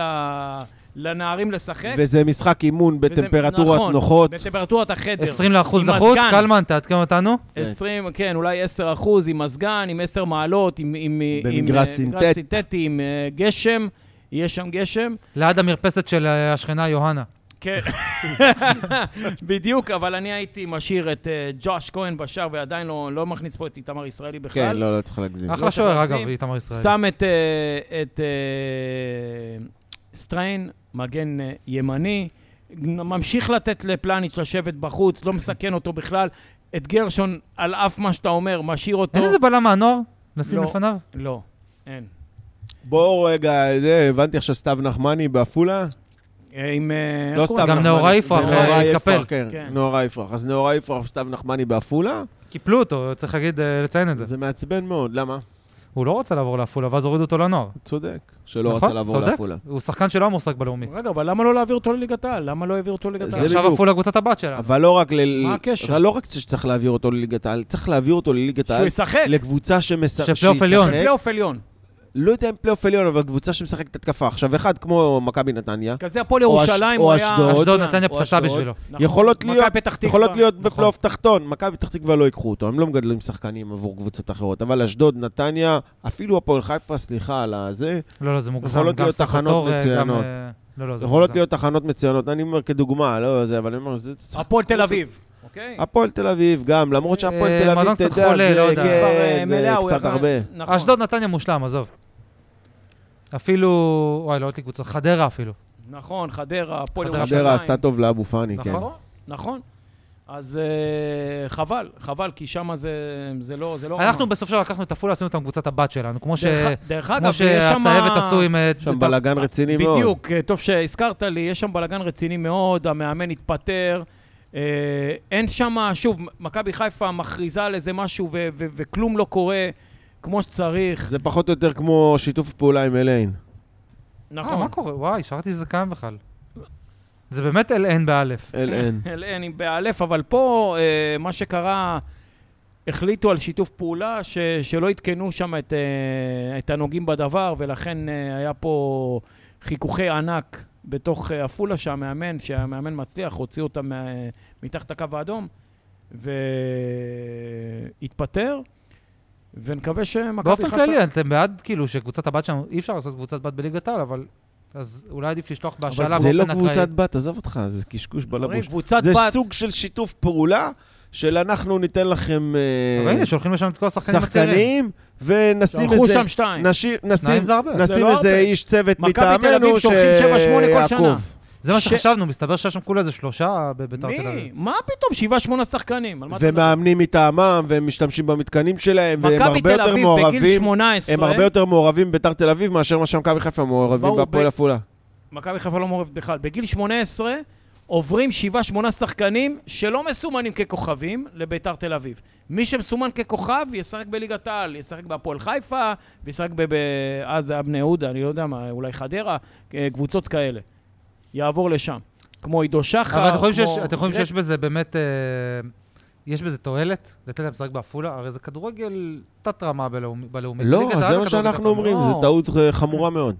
Speaker 1: לנערים לשחק.
Speaker 2: וזה משחק אימון
Speaker 1: כן. וזה-
Speaker 2: בטמפרטורות
Speaker 1: נכון,
Speaker 2: נוחות.
Speaker 1: בטמפרטורת החדר.
Speaker 3: 20 לאחוז
Speaker 1: עם
Speaker 3: לחות,
Speaker 1: מזגן.
Speaker 3: קלמן, תעדכן אותנו.
Speaker 1: 20, כן, אולי 10 אחוז, עם מזגן, עם 10 מעלות, עם... עם עם,
Speaker 2: במגרש
Speaker 1: אה,
Speaker 2: סינטט.
Speaker 1: סינתטי, עם אה, גשם, יש שם גשם.
Speaker 3: ליד המרפסת של אה, השכנה יוהנה.
Speaker 1: כן, בדיוק, אבל אני הייתי משאיר את אה, ג'וש כהן בשער, ועדיין לא, לא מכניס פה את איתמר ישראלי בכלל.
Speaker 2: כן, לא, לא צריך להגזים.
Speaker 1: לא
Speaker 3: אחלה
Speaker 1: צריך
Speaker 3: שוער,
Speaker 1: להגזים.
Speaker 3: אגב, איתמר ישראל.
Speaker 1: שם את, אה, את אה, סטריין, מגן אה, ימני, ממשיך לתת לפלניץ' לשבת בחוץ, לא מסכן אותו בכלל. את גרשון, על אף מה שאתה אומר, משאיר אותו.
Speaker 3: אין איזה בלם מהנוער? נשים
Speaker 1: לא.
Speaker 3: לפניו?
Speaker 1: לא, אין.
Speaker 2: בואו רגע, זה, הבנתי עכשיו סתיו נחמני בעפולה?
Speaker 1: אה, עם... אה, איך
Speaker 2: לא
Speaker 1: קוראים
Speaker 2: סתיו
Speaker 1: לו?
Speaker 3: גם
Speaker 2: נחמני.
Speaker 3: נאורה
Speaker 2: זה
Speaker 3: יפרח,
Speaker 2: נאורה
Speaker 3: אה,
Speaker 2: יפרח,
Speaker 3: התקפל.
Speaker 2: כן,
Speaker 1: כן.
Speaker 2: נאורה יפרח. אז נאורה יפרח וסתיו נחמני בעפולה?
Speaker 3: קיפלו אותו, צריך להגיד, אה, לציין את זה.
Speaker 2: זה מעצבן מאוד, למה?
Speaker 3: הוא לא רוצה לעבור לעפולה, ואז הורידו אותו לנוער.
Speaker 2: צודק, שלא
Speaker 3: נכון?
Speaker 2: רצה לעבור
Speaker 3: צודק.
Speaker 2: לעפולה.
Speaker 3: הוא שחקן שלא היה מועסק בלאומי.
Speaker 1: רגע, אבל למה לא להעביר אותו לליגת העל? למה לא העביר אותו לליגת
Speaker 2: זה
Speaker 1: העל?
Speaker 3: עכשיו
Speaker 2: בדיוק.
Speaker 3: עפולה קבוצת הבת שלה.
Speaker 2: אבל לא רק ל...
Speaker 1: מה הקשר?
Speaker 2: לא רק שצריך להעביר אותו לליגת העל, צריך להעביר אותו לליגת
Speaker 1: שהוא
Speaker 2: העל, אוקיי.
Speaker 1: ישחק.
Speaker 2: לקבוצה שמשחק...
Speaker 3: שפלייאוף עליון.
Speaker 1: לפלייאוף עליון.
Speaker 2: לא יודע אם פלייאוף עליון, אבל קבוצה שמשחקת התקפה. עכשיו, אחד כמו מכבי נתניה,
Speaker 1: כזה הפועל
Speaker 2: או אש-
Speaker 1: ירושלים,
Speaker 2: או
Speaker 1: הוא היה...
Speaker 2: אשדוד.
Speaker 3: אשדוד נתניה
Speaker 2: או
Speaker 3: פצצה
Speaker 2: אשדוד.
Speaker 3: בשבילו.
Speaker 1: נכון.
Speaker 2: יכולות
Speaker 1: מכבי
Speaker 2: להיות-
Speaker 1: פתח תקווה.
Speaker 2: יכולות להיות
Speaker 3: נכון.
Speaker 2: בפלייאוף תחתון. מכבי פתח תקווה לא ייקחו אותו, הם לא מגדלים שחקנים עבור קבוצות אחרות. אבל אשדוד, נתניה, אפילו הפועל חיפה, סליחה על הזה,
Speaker 3: לא, לא, זה מוגזם.
Speaker 2: יכולות
Speaker 3: גם
Speaker 2: להיות
Speaker 3: סטטוטור,
Speaker 2: תחנות
Speaker 3: אה, גם,
Speaker 2: מצוינות.
Speaker 3: אה, לא, לא, זה
Speaker 2: יכולות
Speaker 3: מוגזם.
Speaker 2: להיות תחנות מצוינות. אני אומר כדוגמה, לא זה, אבל אני אומר, זה...
Speaker 1: הפועל תל אביב. אוקיי?
Speaker 2: הפועל תל אביב גם, למרות שהפועל
Speaker 3: אה,
Speaker 2: תל אביב,
Speaker 3: מלון
Speaker 2: אתה
Speaker 3: קצת
Speaker 2: יודע,
Speaker 3: חולה, לא
Speaker 2: זה
Speaker 3: יודע.
Speaker 1: כבר, אה,
Speaker 2: כן, זה
Speaker 1: מלאה, הוא
Speaker 2: קצת
Speaker 1: יכול-
Speaker 2: הרבה.
Speaker 1: נכון.
Speaker 2: כן.
Speaker 3: אשדוד נתניה מושלם, עזוב. אפילו, וואי, לא עוד לי קבוצות, חדרה אפילו.
Speaker 1: נכון, חדרה, הפועל
Speaker 3: חדרה.
Speaker 1: ירושלים.
Speaker 2: חדרה עשתה טוב לאבו פאני, כן.
Speaker 3: נכון?
Speaker 1: נכון. אז אה, חבל, חבל, כי שם זה, זה לא... זה לא
Speaker 3: אנחנו בסוף שלו לקחנו את עפולה, עשינו אותם קבוצת הבת שלנו, כמו ש-
Speaker 1: דרך, דרך
Speaker 3: כמו
Speaker 1: אגב, יש שם...
Speaker 3: שהצהבת עשו עם... אה,
Speaker 2: שם
Speaker 3: את-
Speaker 2: בלאגן רציני מאוד.
Speaker 1: בדיוק, אה, טוב שהזכרת לי, יש שם בלאגן רציני מאוד, המאמן התפטר. אה, אין שם, שוב, מכבי חיפה מכריזה על איזה משהו ו- ו- וכלום לא קורה כמו שצריך.
Speaker 2: זה פחות או יותר כמו שיתוף פעולה עם אליין.
Speaker 3: אה,
Speaker 1: נכון.
Speaker 3: מה קורה? וואי, שכחתי שזה קיים בכלל. זה באמת אל-אין באלף.
Speaker 2: אליין.
Speaker 1: אל- אין, עם באלף, אבל פה אה, מה שקרה, החליטו על שיתוף פעולה ש- שלא עדכנו שם את, אה, את הנוגעים בדבר, ולכן אה, היה פה חיכוכי ענק בתוך אה, עפולה, שהמאמן, שהמאמן מצליח, הוציא אותם מה- מתחת הקו האדום, והתפטר, ונקווה שמכבי
Speaker 3: באופן
Speaker 1: חיפה...
Speaker 3: כללי, אתם בעד, כאילו, שקבוצת הבת שם, אי אפשר לעשות קבוצת בת בליגת העל, אבל... אז אולי עדיף לשלוח בהשאלה באופן
Speaker 2: זה
Speaker 3: אקראי.
Speaker 2: לא קבוצת בת, עזוב אותך, זה קשקוש
Speaker 1: אומרים,
Speaker 2: בלבוש.
Speaker 1: קבוצת
Speaker 2: זה
Speaker 1: בת,
Speaker 2: סוג של שיתוף פעולה של אנחנו ניתן לכם אה,
Speaker 3: אבל הנה, שולחים לשם את כל השחקנים הצעירים.
Speaker 2: שחקנים, ונשים
Speaker 1: שלחו
Speaker 2: איזה...
Speaker 1: שם שתיים.
Speaker 2: נשים- נשים
Speaker 3: שניים זה הרבה.
Speaker 1: זה
Speaker 2: נשים
Speaker 1: לא
Speaker 2: איזה
Speaker 1: הרבה.
Speaker 2: איש צוות
Speaker 1: מכבי תל אביב
Speaker 2: מטעמנו
Speaker 1: שולחים שבע, שמונה כל שנה.
Speaker 2: שיעקוב.
Speaker 3: זה מה
Speaker 1: ש-
Speaker 3: שחשבנו, מסתבר שיש שם כולה איזה שלושה בביתר תל
Speaker 1: מי?
Speaker 3: אביב.
Speaker 1: מה פתאום? שבעה, שמונה שחקנים. על מה אתה מדבר?
Speaker 2: ומאמנים מטעמם, והם משתמשים במתקנים שלהם, והם
Speaker 1: מכבי
Speaker 2: הרבה
Speaker 1: תל
Speaker 2: יותר
Speaker 1: אביב בגיל
Speaker 2: מעורבים.
Speaker 1: 18,
Speaker 2: הם הרבה יותר מעורבים בביתר תל אביב מאשר מה שמכבי חיפה מעורבים
Speaker 1: באו
Speaker 2: בהפועל
Speaker 1: ב-
Speaker 2: עפולה.
Speaker 1: מכבי חיפה לא מעורבת בכלל, בגיל 18 עוברים 7-8 שחקנים שלא מסומנים ככוכבים לביתר תל אביב. מי שמסומן ככוכב ישחק בליגת העל, ישחק בהפועל חיפה, וישחק ב... ב- אז זה היה בני יהודה, אני לא יודע מה, אולי חדרה, אה, קבוצות כאלה. יעבור לשם. כמו עידו שחר,
Speaker 3: אבל אתם
Speaker 1: כמו...
Speaker 3: חושבים שיש- אתם חושבים שיש
Speaker 1: גרט-
Speaker 3: בזה באמת... אה, יש בזה תועלת? לתת להם לשחק בעפולה? הרי זה כדורגל תת-רמה בלאומי- בלאומית.
Speaker 2: לא,
Speaker 3: ליגת העל
Speaker 2: זה מה
Speaker 3: כדורגל
Speaker 2: שאנחנו
Speaker 3: תת-רמה.
Speaker 2: אומרים,
Speaker 1: לא.
Speaker 2: זו טעות אה, חמורה מאוד.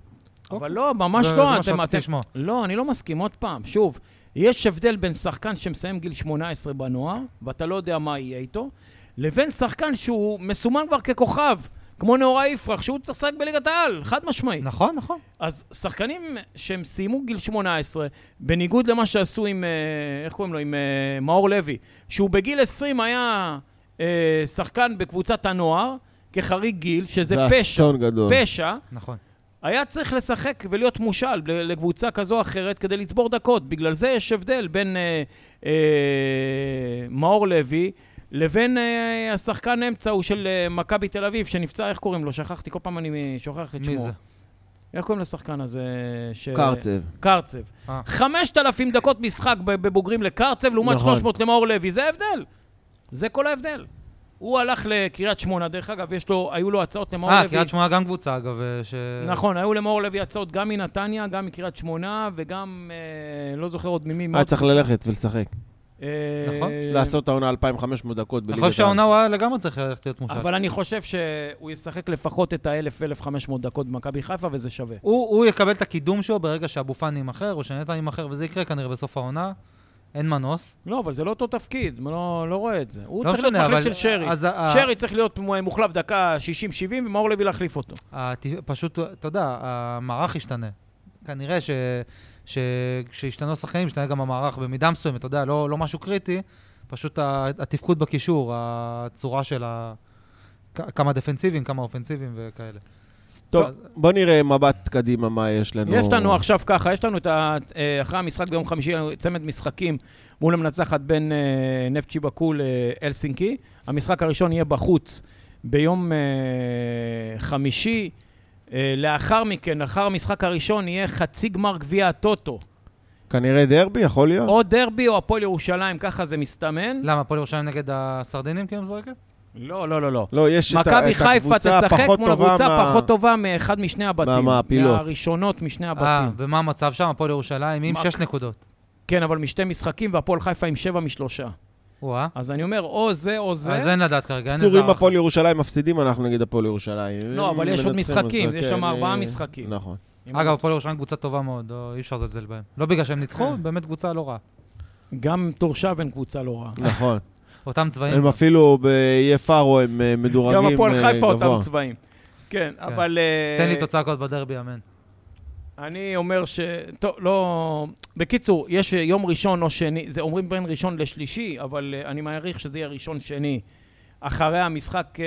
Speaker 1: אבל לא, ממש
Speaker 3: זה- זה
Speaker 1: לא.
Speaker 3: מה
Speaker 1: אתם,
Speaker 3: שרציתי
Speaker 1: אתם...
Speaker 3: לשמוע.
Speaker 1: לא, אני לא מסכים. עוד פעם, שוב, יש הבדל בין שחקן שמסיים גיל 18 בנוער, ואתה לא יודע מה יהיה איתו, לבין שחקן שהוא מסומן כבר ככוכב, כמו נאורה יפרח, שהוא צריך לשחק בליגת העל, חד משמעית.
Speaker 3: נכון, נכון.
Speaker 1: אז שחקנים שהם סיימו גיל 18, בניגוד למה שעשו עם, אה, איך קוראים לו? עם אה, מאור לוי, שהוא בגיל 20 היה אה, שחקן בקבוצת הנוער, כחריג גיל, שזה
Speaker 2: זה
Speaker 1: פשע,
Speaker 2: אסון גדול.
Speaker 1: פשע.
Speaker 3: נכון.
Speaker 1: היה צריך לשחק ולהיות מושל ל- לקבוצה כזו או אחרת כדי לצבור דקות. בגלל זה יש הבדל בין אה, אה, מאור לוי לבין אה, השחקן אמצע הוא של אה, מכבי תל אביב, שנפצע, איך קוראים לו? שכחתי, כל פעם אני שוכח את שמו.
Speaker 3: מי זה?
Speaker 1: איך קוראים לשחקן הזה? ש...
Speaker 2: קרצב.
Speaker 1: קרצב.
Speaker 3: אה.
Speaker 1: 5,000 דקות משחק ב- בבוגרים לקרצב, לעומת
Speaker 2: נכון.
Speaker 1: 300 למאור לוי. זה ההבדל. זה כל ההבדל. הוא הלך לקריית שמונה, דרך אגב, יש לו, היו לו הצעות למאור לוי.
Speaker 3: אה, קריית שמונה גם קבוצה, אגב, אה, ש...
Speaker 1: נכון, היו למאור לוי הצעות גם מנתניה, גם מקריית שמונה, וגם, אה, לא זוכר עוד ממי.
Speaker 2: היה
Speaker 1: מאוד-
Speaker 2: צריך ללכת ולשחק.
Speaker 1: אה,
Speaker 3: נכון.
Speaker 2: לעשות את העונה 2,500 דקות
Speaker 3: אני
Speaker 2: בליגת
Speaker 3: חושב
Speaker 2: העל.
Speaker 3: שהעונה הוא היה לגמרי צריך ללכת להיות מושל.
Speaker 1: אבל אני חושב שהוא ישחק לפחות את ה-1,000-1,500 דקות במכבי חיפה, וזה שווה.
Speaker 3: הוא, הוא יקבל את הקידום שלו ברגע שאבו פאני יימכר, או שנתן יימכר, וזה יקרה כנראה בסוף העונה. אין מנוס.
Speaker 1: לא, אבל זה לא אותו תפקיד, לא, לא רואה את זה. הוא
Speaker 3: לא
Speaker 1: צריך להיות
Speaker 3: משנה,
Speaker 1: מחליף
Speaker 3: אבל-
Speaker 1: של שרי.
Speaker 3: אז ה-
Speaker 1: שרי צריך להיות מ- מוחלף דקה 60-70, ומאור לוי להחליף אותו.
Speaker 3: הת- פשוט, אתה יודע, המערך ישתנה. כנראה ש... ש- כשהשתנו השחקנים, השתנה גם המערך במידה מסוימת, אתה יודע, לא, לא משהו קריטי, פשוט ה- התפקוד בקישור, הצורה של ה... כ- כמה דפנסיביים, כמה אופנסיביים וכאלה.
Speaker 2: טוב, בוא נראה מבט קדימה מה יש לנו.
Speaker 1: יש לנו עכשיו ככה, יש לנו את ה... אה, אחרי המשחק ביום חמישי, יש לנו צמד משחקים מול המנצחת בין אה, נפצ'י בקו לאלסינקי. המשחק הראשון יהיה בחוץ ביום אה, חמישי. אה, לאחר מכן, לאחר המשחק הראשון, יהיה חצי גמר גביע הטוטו.
Speaker 2: כנראה דרבי, יכול להיות?
Speaker 1: או דרבי או הפועל ירושלים, ככה זה מסתמן.
Speaker 2: לא.
Speaker 3: למה, הפועל ירושלים נגד הסרדינים כאילו משחקת?
Speaker 1: לא, לא, לא, לא.
Speaker 2: לא, יש את ה- את
Speaker 1: מכבי חיפה
Speaker 2: הקבוצה
Speaker 1: תשחק
Speaker 2: הפחות
Speaker 1: מול
Speaker 2: טובה
Speaker 1: הקבוצה
Speaker 2: מה-
Speaker 1: פחות טובה מאחד משני הבתים.
Speaker 2: מהמעפילות.
Speaker 1: מהראשונות משני
Speaker 3: אה,
Speaker 1: הבתים.
Speaker 3: ומה המצב שם? הפועל ירושלים עם
Speaker 1: מה-
Speaker 3: שש נקודות.
Speaker 1: כן, אבל משתי משחקים, והפועל חיפה עם שבע משלושה.
Speaker 3: וואה.
Speaker 1: אז אני אומר, או זה או זה.
Speaker 3: אה? אז אין לדעת כרגע, אין
Speaker 2: בקיצור,
Speaker 3: איזה
Speaker 2: אם
Speaker 3: הערכה.
Speaker 2: הפועל ירושלים מפסידים, אנחנו נגיד הפועל ירושלים.
Speaker 1: לא,
Speaker 2: אם
Speaker 1: אבל יש עוד
Speaker 2: מנצחים,
Speaker 1: משחקים,
Speaker 2: אז
Speaker 1: יש
Speaker 2: כן,
Speaker 1: שם
Speaker 2: אה,
Speaker 1: ארבעה משחקים.
Speaker 2: נכון.
Speaker 1: אם-
Speaker 3: אגב, הפועל ירושלים קבוצה טובה מאוד, לא- אי אפשר לזלזל בהם. לא בגלל שהם
Speaker 1: כן.
Speaker 3: ניצחו, באמת קבוצה לא רעה.
Speaker 1: גם תורשבן קבוצה לא רעה.
Speaker 2: נכון.
Speaker 3: אותם צבעים.
Speaker 2: הם אפילו באיי פארו הם אה, מדורגים
Speaker 1: גם הפועל
Speaker 2: אה,
Speaker 1: חיפה אותם
Speaker 2: גבוה.
Speaker 1: צבעים. כן, אבל... אה,
Speaker 3: תן לי תוצאה כזאת בדרבי, אמן.
Speaker 1: אני אומר ש... טוב, לא... בקיצור, יש יום ראשון או שני, זה אומרים בין ראשון לשלישי, אבל אה, אני מעריך שזה יהיה ראשון-שני. אחרי המשחק אה,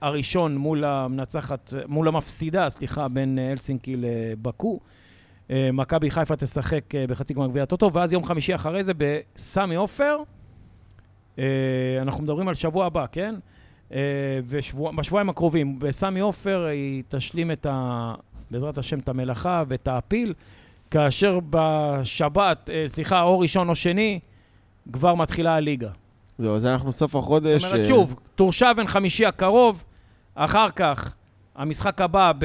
Speaker 1: הראשון מול המנצחת, מול המפסידה, סליחה, בין אה, הלסינקי אה, לבקו. אה, מכבי חיפה תשחק אה, בחצי גמר גביע הטוטו, ואז יום חמישי אחרי זה בסמי עופר, אה, אנחנו מדברים על שבוע הבא, כן? ובשבועיים הקרובים, בסמי עופר היא תשלים את ה... בעזרת השם את המלאכה ואת העפיל, כאשר בשבת, אה, סליחה, או ראשון או שני, כבר מתחילה הליגה.
Speaker 2: זהו, אז אנחנו סוף
Speaker 1: זאת
Speaker 2: החודש...
Speaker 1: אומרת,
Speaker 2: אה,
Speaker 1: שוב, טורשבן חמישי הקרוב, אחר כך המשחק הבא ב-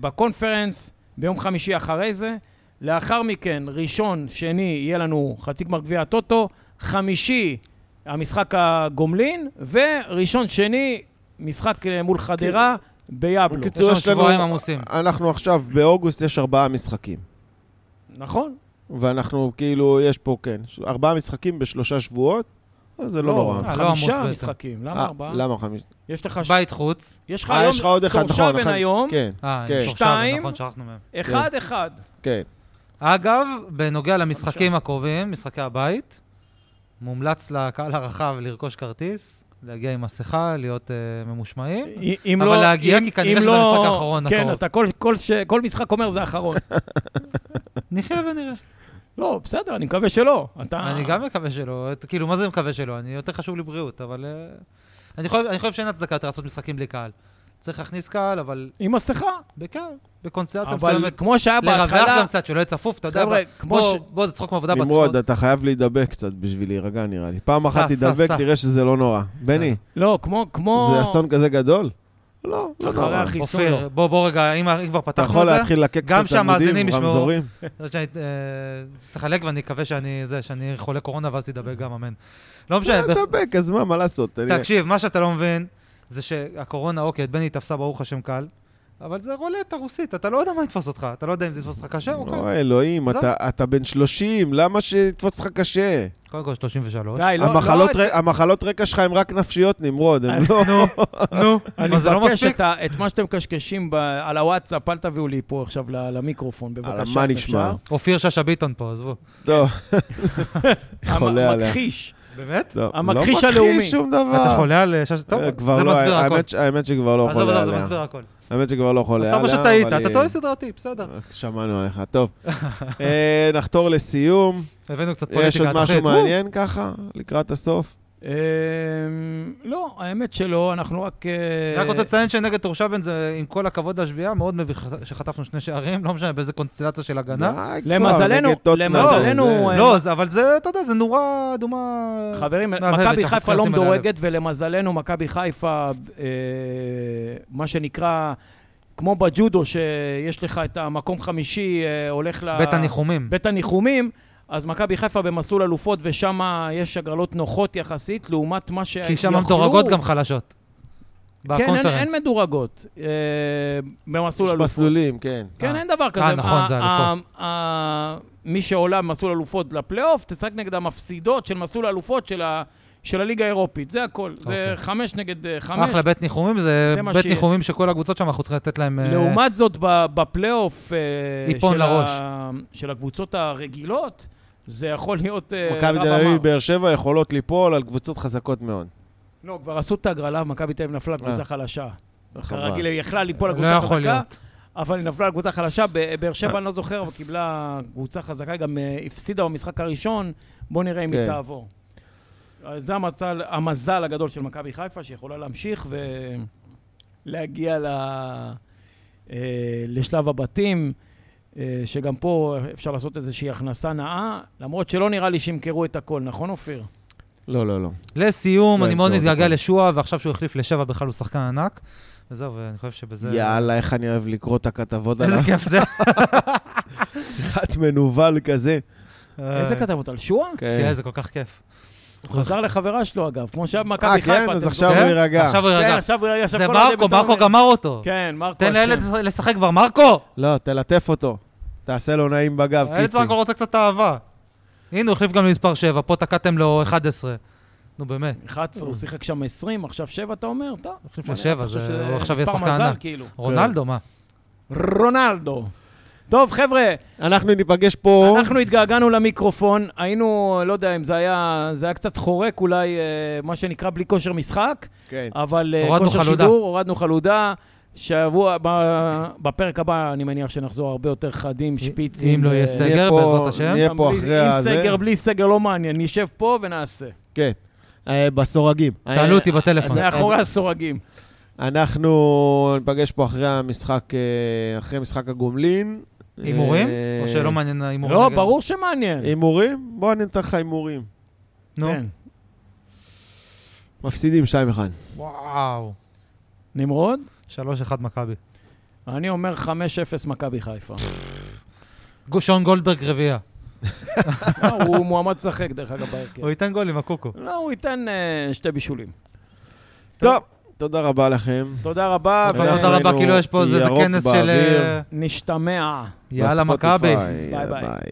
Speaker 1: בקונפרנס, ביום חמישי אחרי זה. לאחר מכן, ראשון, שני, יהיה לנו חצי גמר גביע הטוטו, חמישי, המשחק הגומלין, וראשון, שני, משחק אה, מול חדרה ביבלו.
Speaker 2: כן. בקיצור,
Speaker 3: יש לנו שבועיים עמוסים.
Speaker 2: אנחנו עכשיו באוגוסט, יש ארבעה משחקים.
Speaker 1: נכון?
Speaker 2: ואנחנו כאילו, יש פה, כן, ש- ארבעה משחקים בשלושה שבועות, אז זה לא נורא.
Speaker 3: אה, לא עמוס
Speaker 1: חמישה
Speaker 3: בעצם.
Speaker 1: משחקים, למה
Speaker 2: אה,
Speaker 1: ארבעה?
Speaker 2: למה חמישה?
Speaker 1: יש לך ש-
Speaker 3: בית חוץ.
Speaker 1: יש לך
Speaker 2: אה, יש לך
Speaker 1: היום
Speaker 2: עוד אחד, נכון.
Speaker 1: טורשבן
Speaker 2: אחד-
Speaker 1: היום,
Speaker 2: כן,
Speaker 3: אה,
Speaker 2: כן.
Speaker 3: שורשבן,
Speaker 1: שתיים.
Speaker 3: נכון, שכחנו מהם.
Speaker 1: אחד אחד.
Speaker 2: כן.
Speaker 3: אגב, בנוגע למשחקים הקרובים, משחקי הבית, מומלץ לקהל הרחב לרכוש כרטיס, להגיע עם מסכה, להיות אה, ממושמעים.
Speaker 1: אם
Speaker 3: אבל
Speaker 1: לא-
Speaker 3: להגיע,
Speaker 1: אם-
Speaker 3: כי כנראה
Speaker 1: אם
Speaker 3: שזה
Speaker 1: לא-
Speaker 3: המשחק האחרון נכון.
Speaker 1: כן,
Speaker 3: הקרוב.
Speaker 1: אתה כל- כל ש- כל משחק אומר זה האחרון.
Speaker 3: נחיה ונראה.
Speaker 1: לא, בסדר, אני מקווה שלא. אתה...
Speaker 3: אני גם מקווה שלא, את- כאילו, מה זה מקווה שלא? אני יותר חשוב לי בריאות, אבל... אה, אני חושב, אני חושב שאין הצדקה יותר לעשות משחקים בלי קהל. צריך להכניס קהל, אבל
Speaker 1: עם מסכה.
Speaker 3: בכן, בקונסטלציה
Speaker 1: אבל
Speaker 3: מסוימת.
Speaker 1: כמו שהיה
Speaker 3: לרווח
Speaker 1: בהתחלה,
Speaker 3: גם קצת, שלא יהיה צפוף, אתה יודע.
Speaker 1: חבר'ה,
Speaker 3: ב-
Speaker 1: כמו
Speaker 3: בוא,
Speaker 1: ש-
Speaker 3: בוא, זה צחוק מעבודה בצפון.
Speaker 2: נמרוד, אתה חייב להידבק קצת בשביל להירגע, נראה לי. פעם
Speaker 3: סע,
Speaker 2: אחת
Speaker 3: סע,
Speaker 2: תידבק,
Speaker 3: סע.
Speaker 2: תראה שזה לא נורא. בני,
Speaker 1: לא, כמו... כמו...
Speaker 2: זה אסון כזה גדול? לא, לא
Speaker 1: אחרי
Speaker 2: נורא.
Speaker 1: החיסון.
Speaker 3: אופיר, בוא, בוא רגע, אם אם כבר
Speaker 2: אתה
Speaker 3: פתחנו
Speaker 2: יכול
Speaker 3: את זה,
Speaker 2: להתחיל לקק
Speaker 3: גם
Speaker 2: קצת עמודים,
Speaker 3: שהמאזינים ישמעו.
Speaker 2: רמזורים?
Speaker 3: אתה יודע שאני, אה, תחלק ואני אקווה שאני זה, שאני חולה קורונה ואז תדבק גם, אמן. לא משנה,
Speaker 2: לא, תדבק, אז מה, מה לעשות? אני-
Speaker 3: תקשיב, מה שאתה לא מבין, זה שהקורונה, אוקיי, את בני תפסה ברוך השם קל, אבל זה רולטה רוסית, אתה לא יודע מה יתפוס אותך, אתה לא יודע אם זה יתפוס אותך קשה או קל.
Speaker 2: אוי, אלוהים,
Speaker 3: זה-
Speaker 2: אתה- אתה בן 30, למה שיתפוס לך קשה?
Speaker 3: קודם כל 33.
Speaker 1: די, לא...
Speaker 2: המחלות
Speaker 1: לא,
Speaker 2: ר- המחלות רקע שלך הן רק נפשיות, נמרוד, הן לא...
Speaker 3: נו, נו,
Speaker 1: אני
Speaker 3: מה זה לא
Speaker 1: מבקש
Speaker 3: מספיק?
Speaker 1: את, ה- את מה שאתם מקשקשים ב... על הוואטסאפ, אל תביאו לי פה עכשיו ל- למיקרופון,
Speaker 2: על
Speaker 1: בבקשה.
Speaker 2: מה
Speaker 1: אם
Speaker 2: נשמע?
Speaker 1: אפשר.
Speaker 3: אופיר שאשא ביטון פה, עזבו.
Speaker 2: טוב,
Speaker 1: המ-
Speaker 2: חולה עליה.
Speaker 1: המכחיש.
Speaker 3: באמת?
Speaker 2: לא,
Speaker 1: המכחיש
Speaker 2: לא
Speaker 1: הלאומי.
Speaker 2: מכחיש שום דבר.
Speaker 3: אתה חולה על שאשא... טוב,
Speaker 2: אה, כבר
Speaker 3: זה
Speaker 2: לא,
Speaker 3: מסביר הכל.
Speaker 2: האמת ש- האמת שכבר לא
Speaker 3: עזוב,
Speaker 2: חולה
Speaker 3: עזוב, זה
Speaker 2: עליה.
Speaker 3: מסביר הכל.
Speaker 2: האמת שכבר לא
Speaker 3: אז
Speaker 2: חולה
Speaker 3: אתה
Speaker 2: עליה.
Speaker 3: פשוט
Speaker 2: אבל
Speaker 3: טעית,
Speaker 2: היא-
Speaker 3: אתה טועה סדרתי, בסדר.
Speaker 2: שמענו עליך, טוב. אה, נחתור לסיום.
Speaker 3: הבאנו קצת פוליטיקה.
Speaker 2: יש עוד
Speaker 3: תחליט.
Speaker 2: משהו מעניין ככה, לקראת הסוף?
Speaker 1: אמ, לא, האמת שלא, אנחנו רק... אה,
Speaker 3: אני רק רוצה לציין שנגד תורשבן זה, עם כל הכבוד לשביעייה, מאוד מביך שחטפנו שני שערים, לא משנה באיזה קונסטלציה של הגנה.
Speaker 2: די כבר,
Speaker 1: למזלנו-
Speaker 2: נגד טוטנהאם,
Speaker 1: למזלנו,
Speaker 2: זה-
Speaker 1: אה,
Speaker 3: לא, זה- אבל זה, אתה יודע, זה נורה אדומה...
Speaker 1: חברים,
Speaker 3: מהבהבת
Speaker 1: מכבי
Speaker 3: שאנחנו
Speaker 1: חיפה
Speaker 3: צריכים
Speaker 1: לא
Speaker 3: לשים אליה
Speaker 1: מדורגת, ולמזלנו מכבי חיפה, אה, מה שנקרא, כמו בג'ודו, שיש לך את המקום חמישי, אה, הולך ל...
Speaker 3: לב. בית הניחומים.
Speaker 1: בית הניחומים, אז מכבי חיפה במסלול אלופות, ושם יש הגרלות נוחות יחסית, לעומת מה שיכלו...
Speaker 3: כי שם המדורגות גם חלשות.
Speaker 1: כן, אין,
Speaker 3: בקונפרנס.
Speaker 1: אין מדורגות אה, במסלול
Speaker 2: יש
Speaker 1: אלופות.
Speaker 2: מסלולים, כן.
Speaker 1: כן,
Speaker 3: אה.
Speaker 1: אין דבר כזה.
Speaker 3: נכון, זה
Speaker 1: ה-
Speaker 3: אלופות.
Speaker 1: ה- ה- מי שעולה במסלול אלופות לפלייאוף, תשחק נגד המפסידות של מסלול האלופות של ה- של הליגה האירופית. זה הכל. זה
Speaker 3: אוקיי.
Speaker 1: חמש נגד אה, חמש.
Speaker 3: אחלה בית ניחומים, זה
Speaker 1: זה מה
Speaker 3: בית
Speaker 1: שיהיה.
Speaker 3: ניחומים שכל הקבוצות שם, אנחנו צריכים לתת להם... אה,
Speaker 1: לעומת זאת, ב- בפלייאוף אה,
Speaker 3: ייפול
Speaker 1: של
Speaker 3: לראש.
Speaker 1: ה- של הקבוצות הרגילות, זה יכול להיות אה,
Speaker 2: מכבי
Speaker 1: רב
Speaker 2: תל
Speaker 1: אמר.
Speaker 2: אביב, באר שבע יכולות ליפול על קבוצות חזקות מאוד.
Speaker 1: לא, כבר עשו את ההגרלה, מכבי תל אביב נפלה על קבוצה
Speaker 2: אה. חבל.
Speaker 1: חלשה. כרגיל, היא יכלה ליפול על
Speaker 3: לא
Speaker 1: קבוצה
Speaker 3: יכול
Speaker 1: חזקה,
Speaker 3: להיות.
Speaker 1: אבל היא נפלה על קבוצה חלשה. ב- באר שבע, אני לא זוכר, אבל קיבלה קבוצה חזקה, היא גם אה, הפסידה במשחק הראשון, בואו נראה אם היא
Speaker 2: כן.
Speaker 1: תעבור. אה, זה המצל, המזל הגדול של מכבי חיפה, שיכולה להמשיך ולהגיע ל... אה, לשלב הבתים, אה, שגם פה אפשר לעשות איזושהי הכנסה נאה, למרות שלא נראה לי שימכרו את הכל, נכון, אופיר?
Speaker 2: לא, לא, לא.
Speaker 3: לסיום,
Speaker 2: לא,
Speaker 3: אני מאוד
Speaker 2: לא,
Speaker 3: מתגעגע
Speaker 2: נכון.
Speaker 3: לשועה, ועכשיו שהוא החליף לשבע בכלל הוא שחקן ענק. וזהו, ואני חושב שבזה...
Speaker 2: יאללה, איך אני אוהב לקרוא את הכתבות
Speaker 3: איזה
Speaker 2: עליו.
Speaker 3: כיף זה.
Speaker 2: אחד מנוול כזה.
Speaker 3: אה.
Speaker 1: איזה כתבות? על שועה?
Speaker 3: כן, זה כל כך כיף.
Speaker 1: הוא חזר לחברה שלו, אגב, כמו שהיה במכבי
Speaker 2: אה,
Speaker 1: חיפה.
Speaker 2: כן,
Speaker 1: אתם
Speaker 2: אז
Speaker 1: זוכרים?
Speaker 2: עכשיו הוא
Speaker 3: כן?
Speaker 2: יירגע.
Speaker 3: עכשיו הוא
Speaker 1: כן,
Speaker 3: יירגע.
Speaker 1: עכשיו הוא ירגע.
Speaker 3: זה מרקו, מרקו גמר אותו.
Speaker 1: כן, מרקו
Speaker 3: תן לילד
Speaker 1: אשם.
Speaker 3: לשחק כבר, מרקו!
Speaker 2: לא, תלטף אותו. תעשה לו נעים בגב,
Speaker 3: הילד
Speaker 2: קיצי.
Speaker 3: סך הכל רוצה קצת אהבה. הנה, הוא החליף גם למספר 7, פה תקעתם לו 11. נו באמת,
Speaker 1: 11, הוא שיחק שם 20, עכשיו 7, אתה אומר? טוב.
Speaker 3: הוא החליף
Speaker 1: אני
Speaker 3: לשבע,
Speaker 1: חושב
Speaker 3: זה-
Speaker 1: שזה
Speaker 3: הוא עכשיו יהיה
Speaker 1: מספר
Speaker 3: שחקן
Speaker 1: מזל,
Speaker 2: כן.
Speaker 3: ענק.
Speaker 1: כאילו.
Speaker 3: רונלדו, מה?
Speaker 1: רונלדו. טוב, חבר'ה,
Speaker 2: אנחנו ניפגש פה.
Speaker 1: אנחנו התגעגענו למיקרופון, היינו, לא יודע אם זה היה, זה היה קצת חורק אולי, אה, מה שנקרא בלי כושר משחק,
Speaker 2: כן.
Speaker 1: אבל אה,
Speaker 3: הורדנו
Speaker 1: כושר
Speaker 3: חלודה.
Speaker 1: שידור, הורדנו חלודה. שבוע, ב- בפרק הבא אני מניח שנחזור הרבה יותר חדים, שפיצים.
Speaker 3: אם לא יהיה
Speaker 1: אה,
Speaker 3: סגר,
Speaker 2: נהיה פה-
Speaker 3: בעזרת השם.
Speaker 2: נהיה פה
Speaker 1: בלי-
Speaker 2: אחרי
Speaker 1: עם
Speaker 2: הזה.
Speaker 1: סגר, בלי סגר, לא מעניין. נשב פה ונעשה.
Speaker 2: כן, אה, בסורגים.
Speaker 3: תעלו אותי
Speaker 2: אה,
Speaker 3: בטלפון.
Speaker 2: אז-
Speaker 1: זה
Speaker 2: אז-
Speaker 1: מאחורי הסורגים.
Speaker 2: אנחנו ניפגש פה אחרי המשחק, אה, אחרי משחק הגומלין.
Speaker 3: הימורים?
Speaker 2: אה,
Speaker 3: או שלא מעניין ההימורים?
Speaker 1: לא,
Speaker 3: נגד?
Speaker 1: ברור שמעניין.
Speaker 2: הימורים? בוא אני אתן לך הימורים.
Speaker 3: נו.
Speaker 1: כן.
Speaker 2: מפסידים 2-1.
Speaker 3: וואו.
Speaker 1: נמרוד?
Speaker 3: 3-1 מכבי.
Speaker 1: אני אומר 5-0 מכבי חיפה.
Speaker 3: גו- שון גולדברג רביעייה.
Speaker 1: כן. אה, הוא מועמד לשחק, דרך אגב, בהרכב.
Speaker 3: הוא ייתן גול עם הקוקו.
Speaker 1: לא, הוא ייתן אה, שתי בישולים.
Speaker 2: טוב, תודה רבה לכם.
Speaker 1: תודה רבה,
Speaker 2: אבל
Speaker 1: ו-
Speaker 2: אנחנו
Speaker 3: תודה רבה,
Speaker 2: היינו
Speaker 3: כאילו יש פה איזה איזה
Speaker 2: ירוק
Speaker 3: כנס של...
Speaker 2: באוויר.
Speaker 3: אה,
Speaker 1: נשתמע.
Speaker 3: יאללה מכבי.
Speaker 2: בספוטיפיי,
Speaker 1: ביי ביי.
Speaker 2: ביי.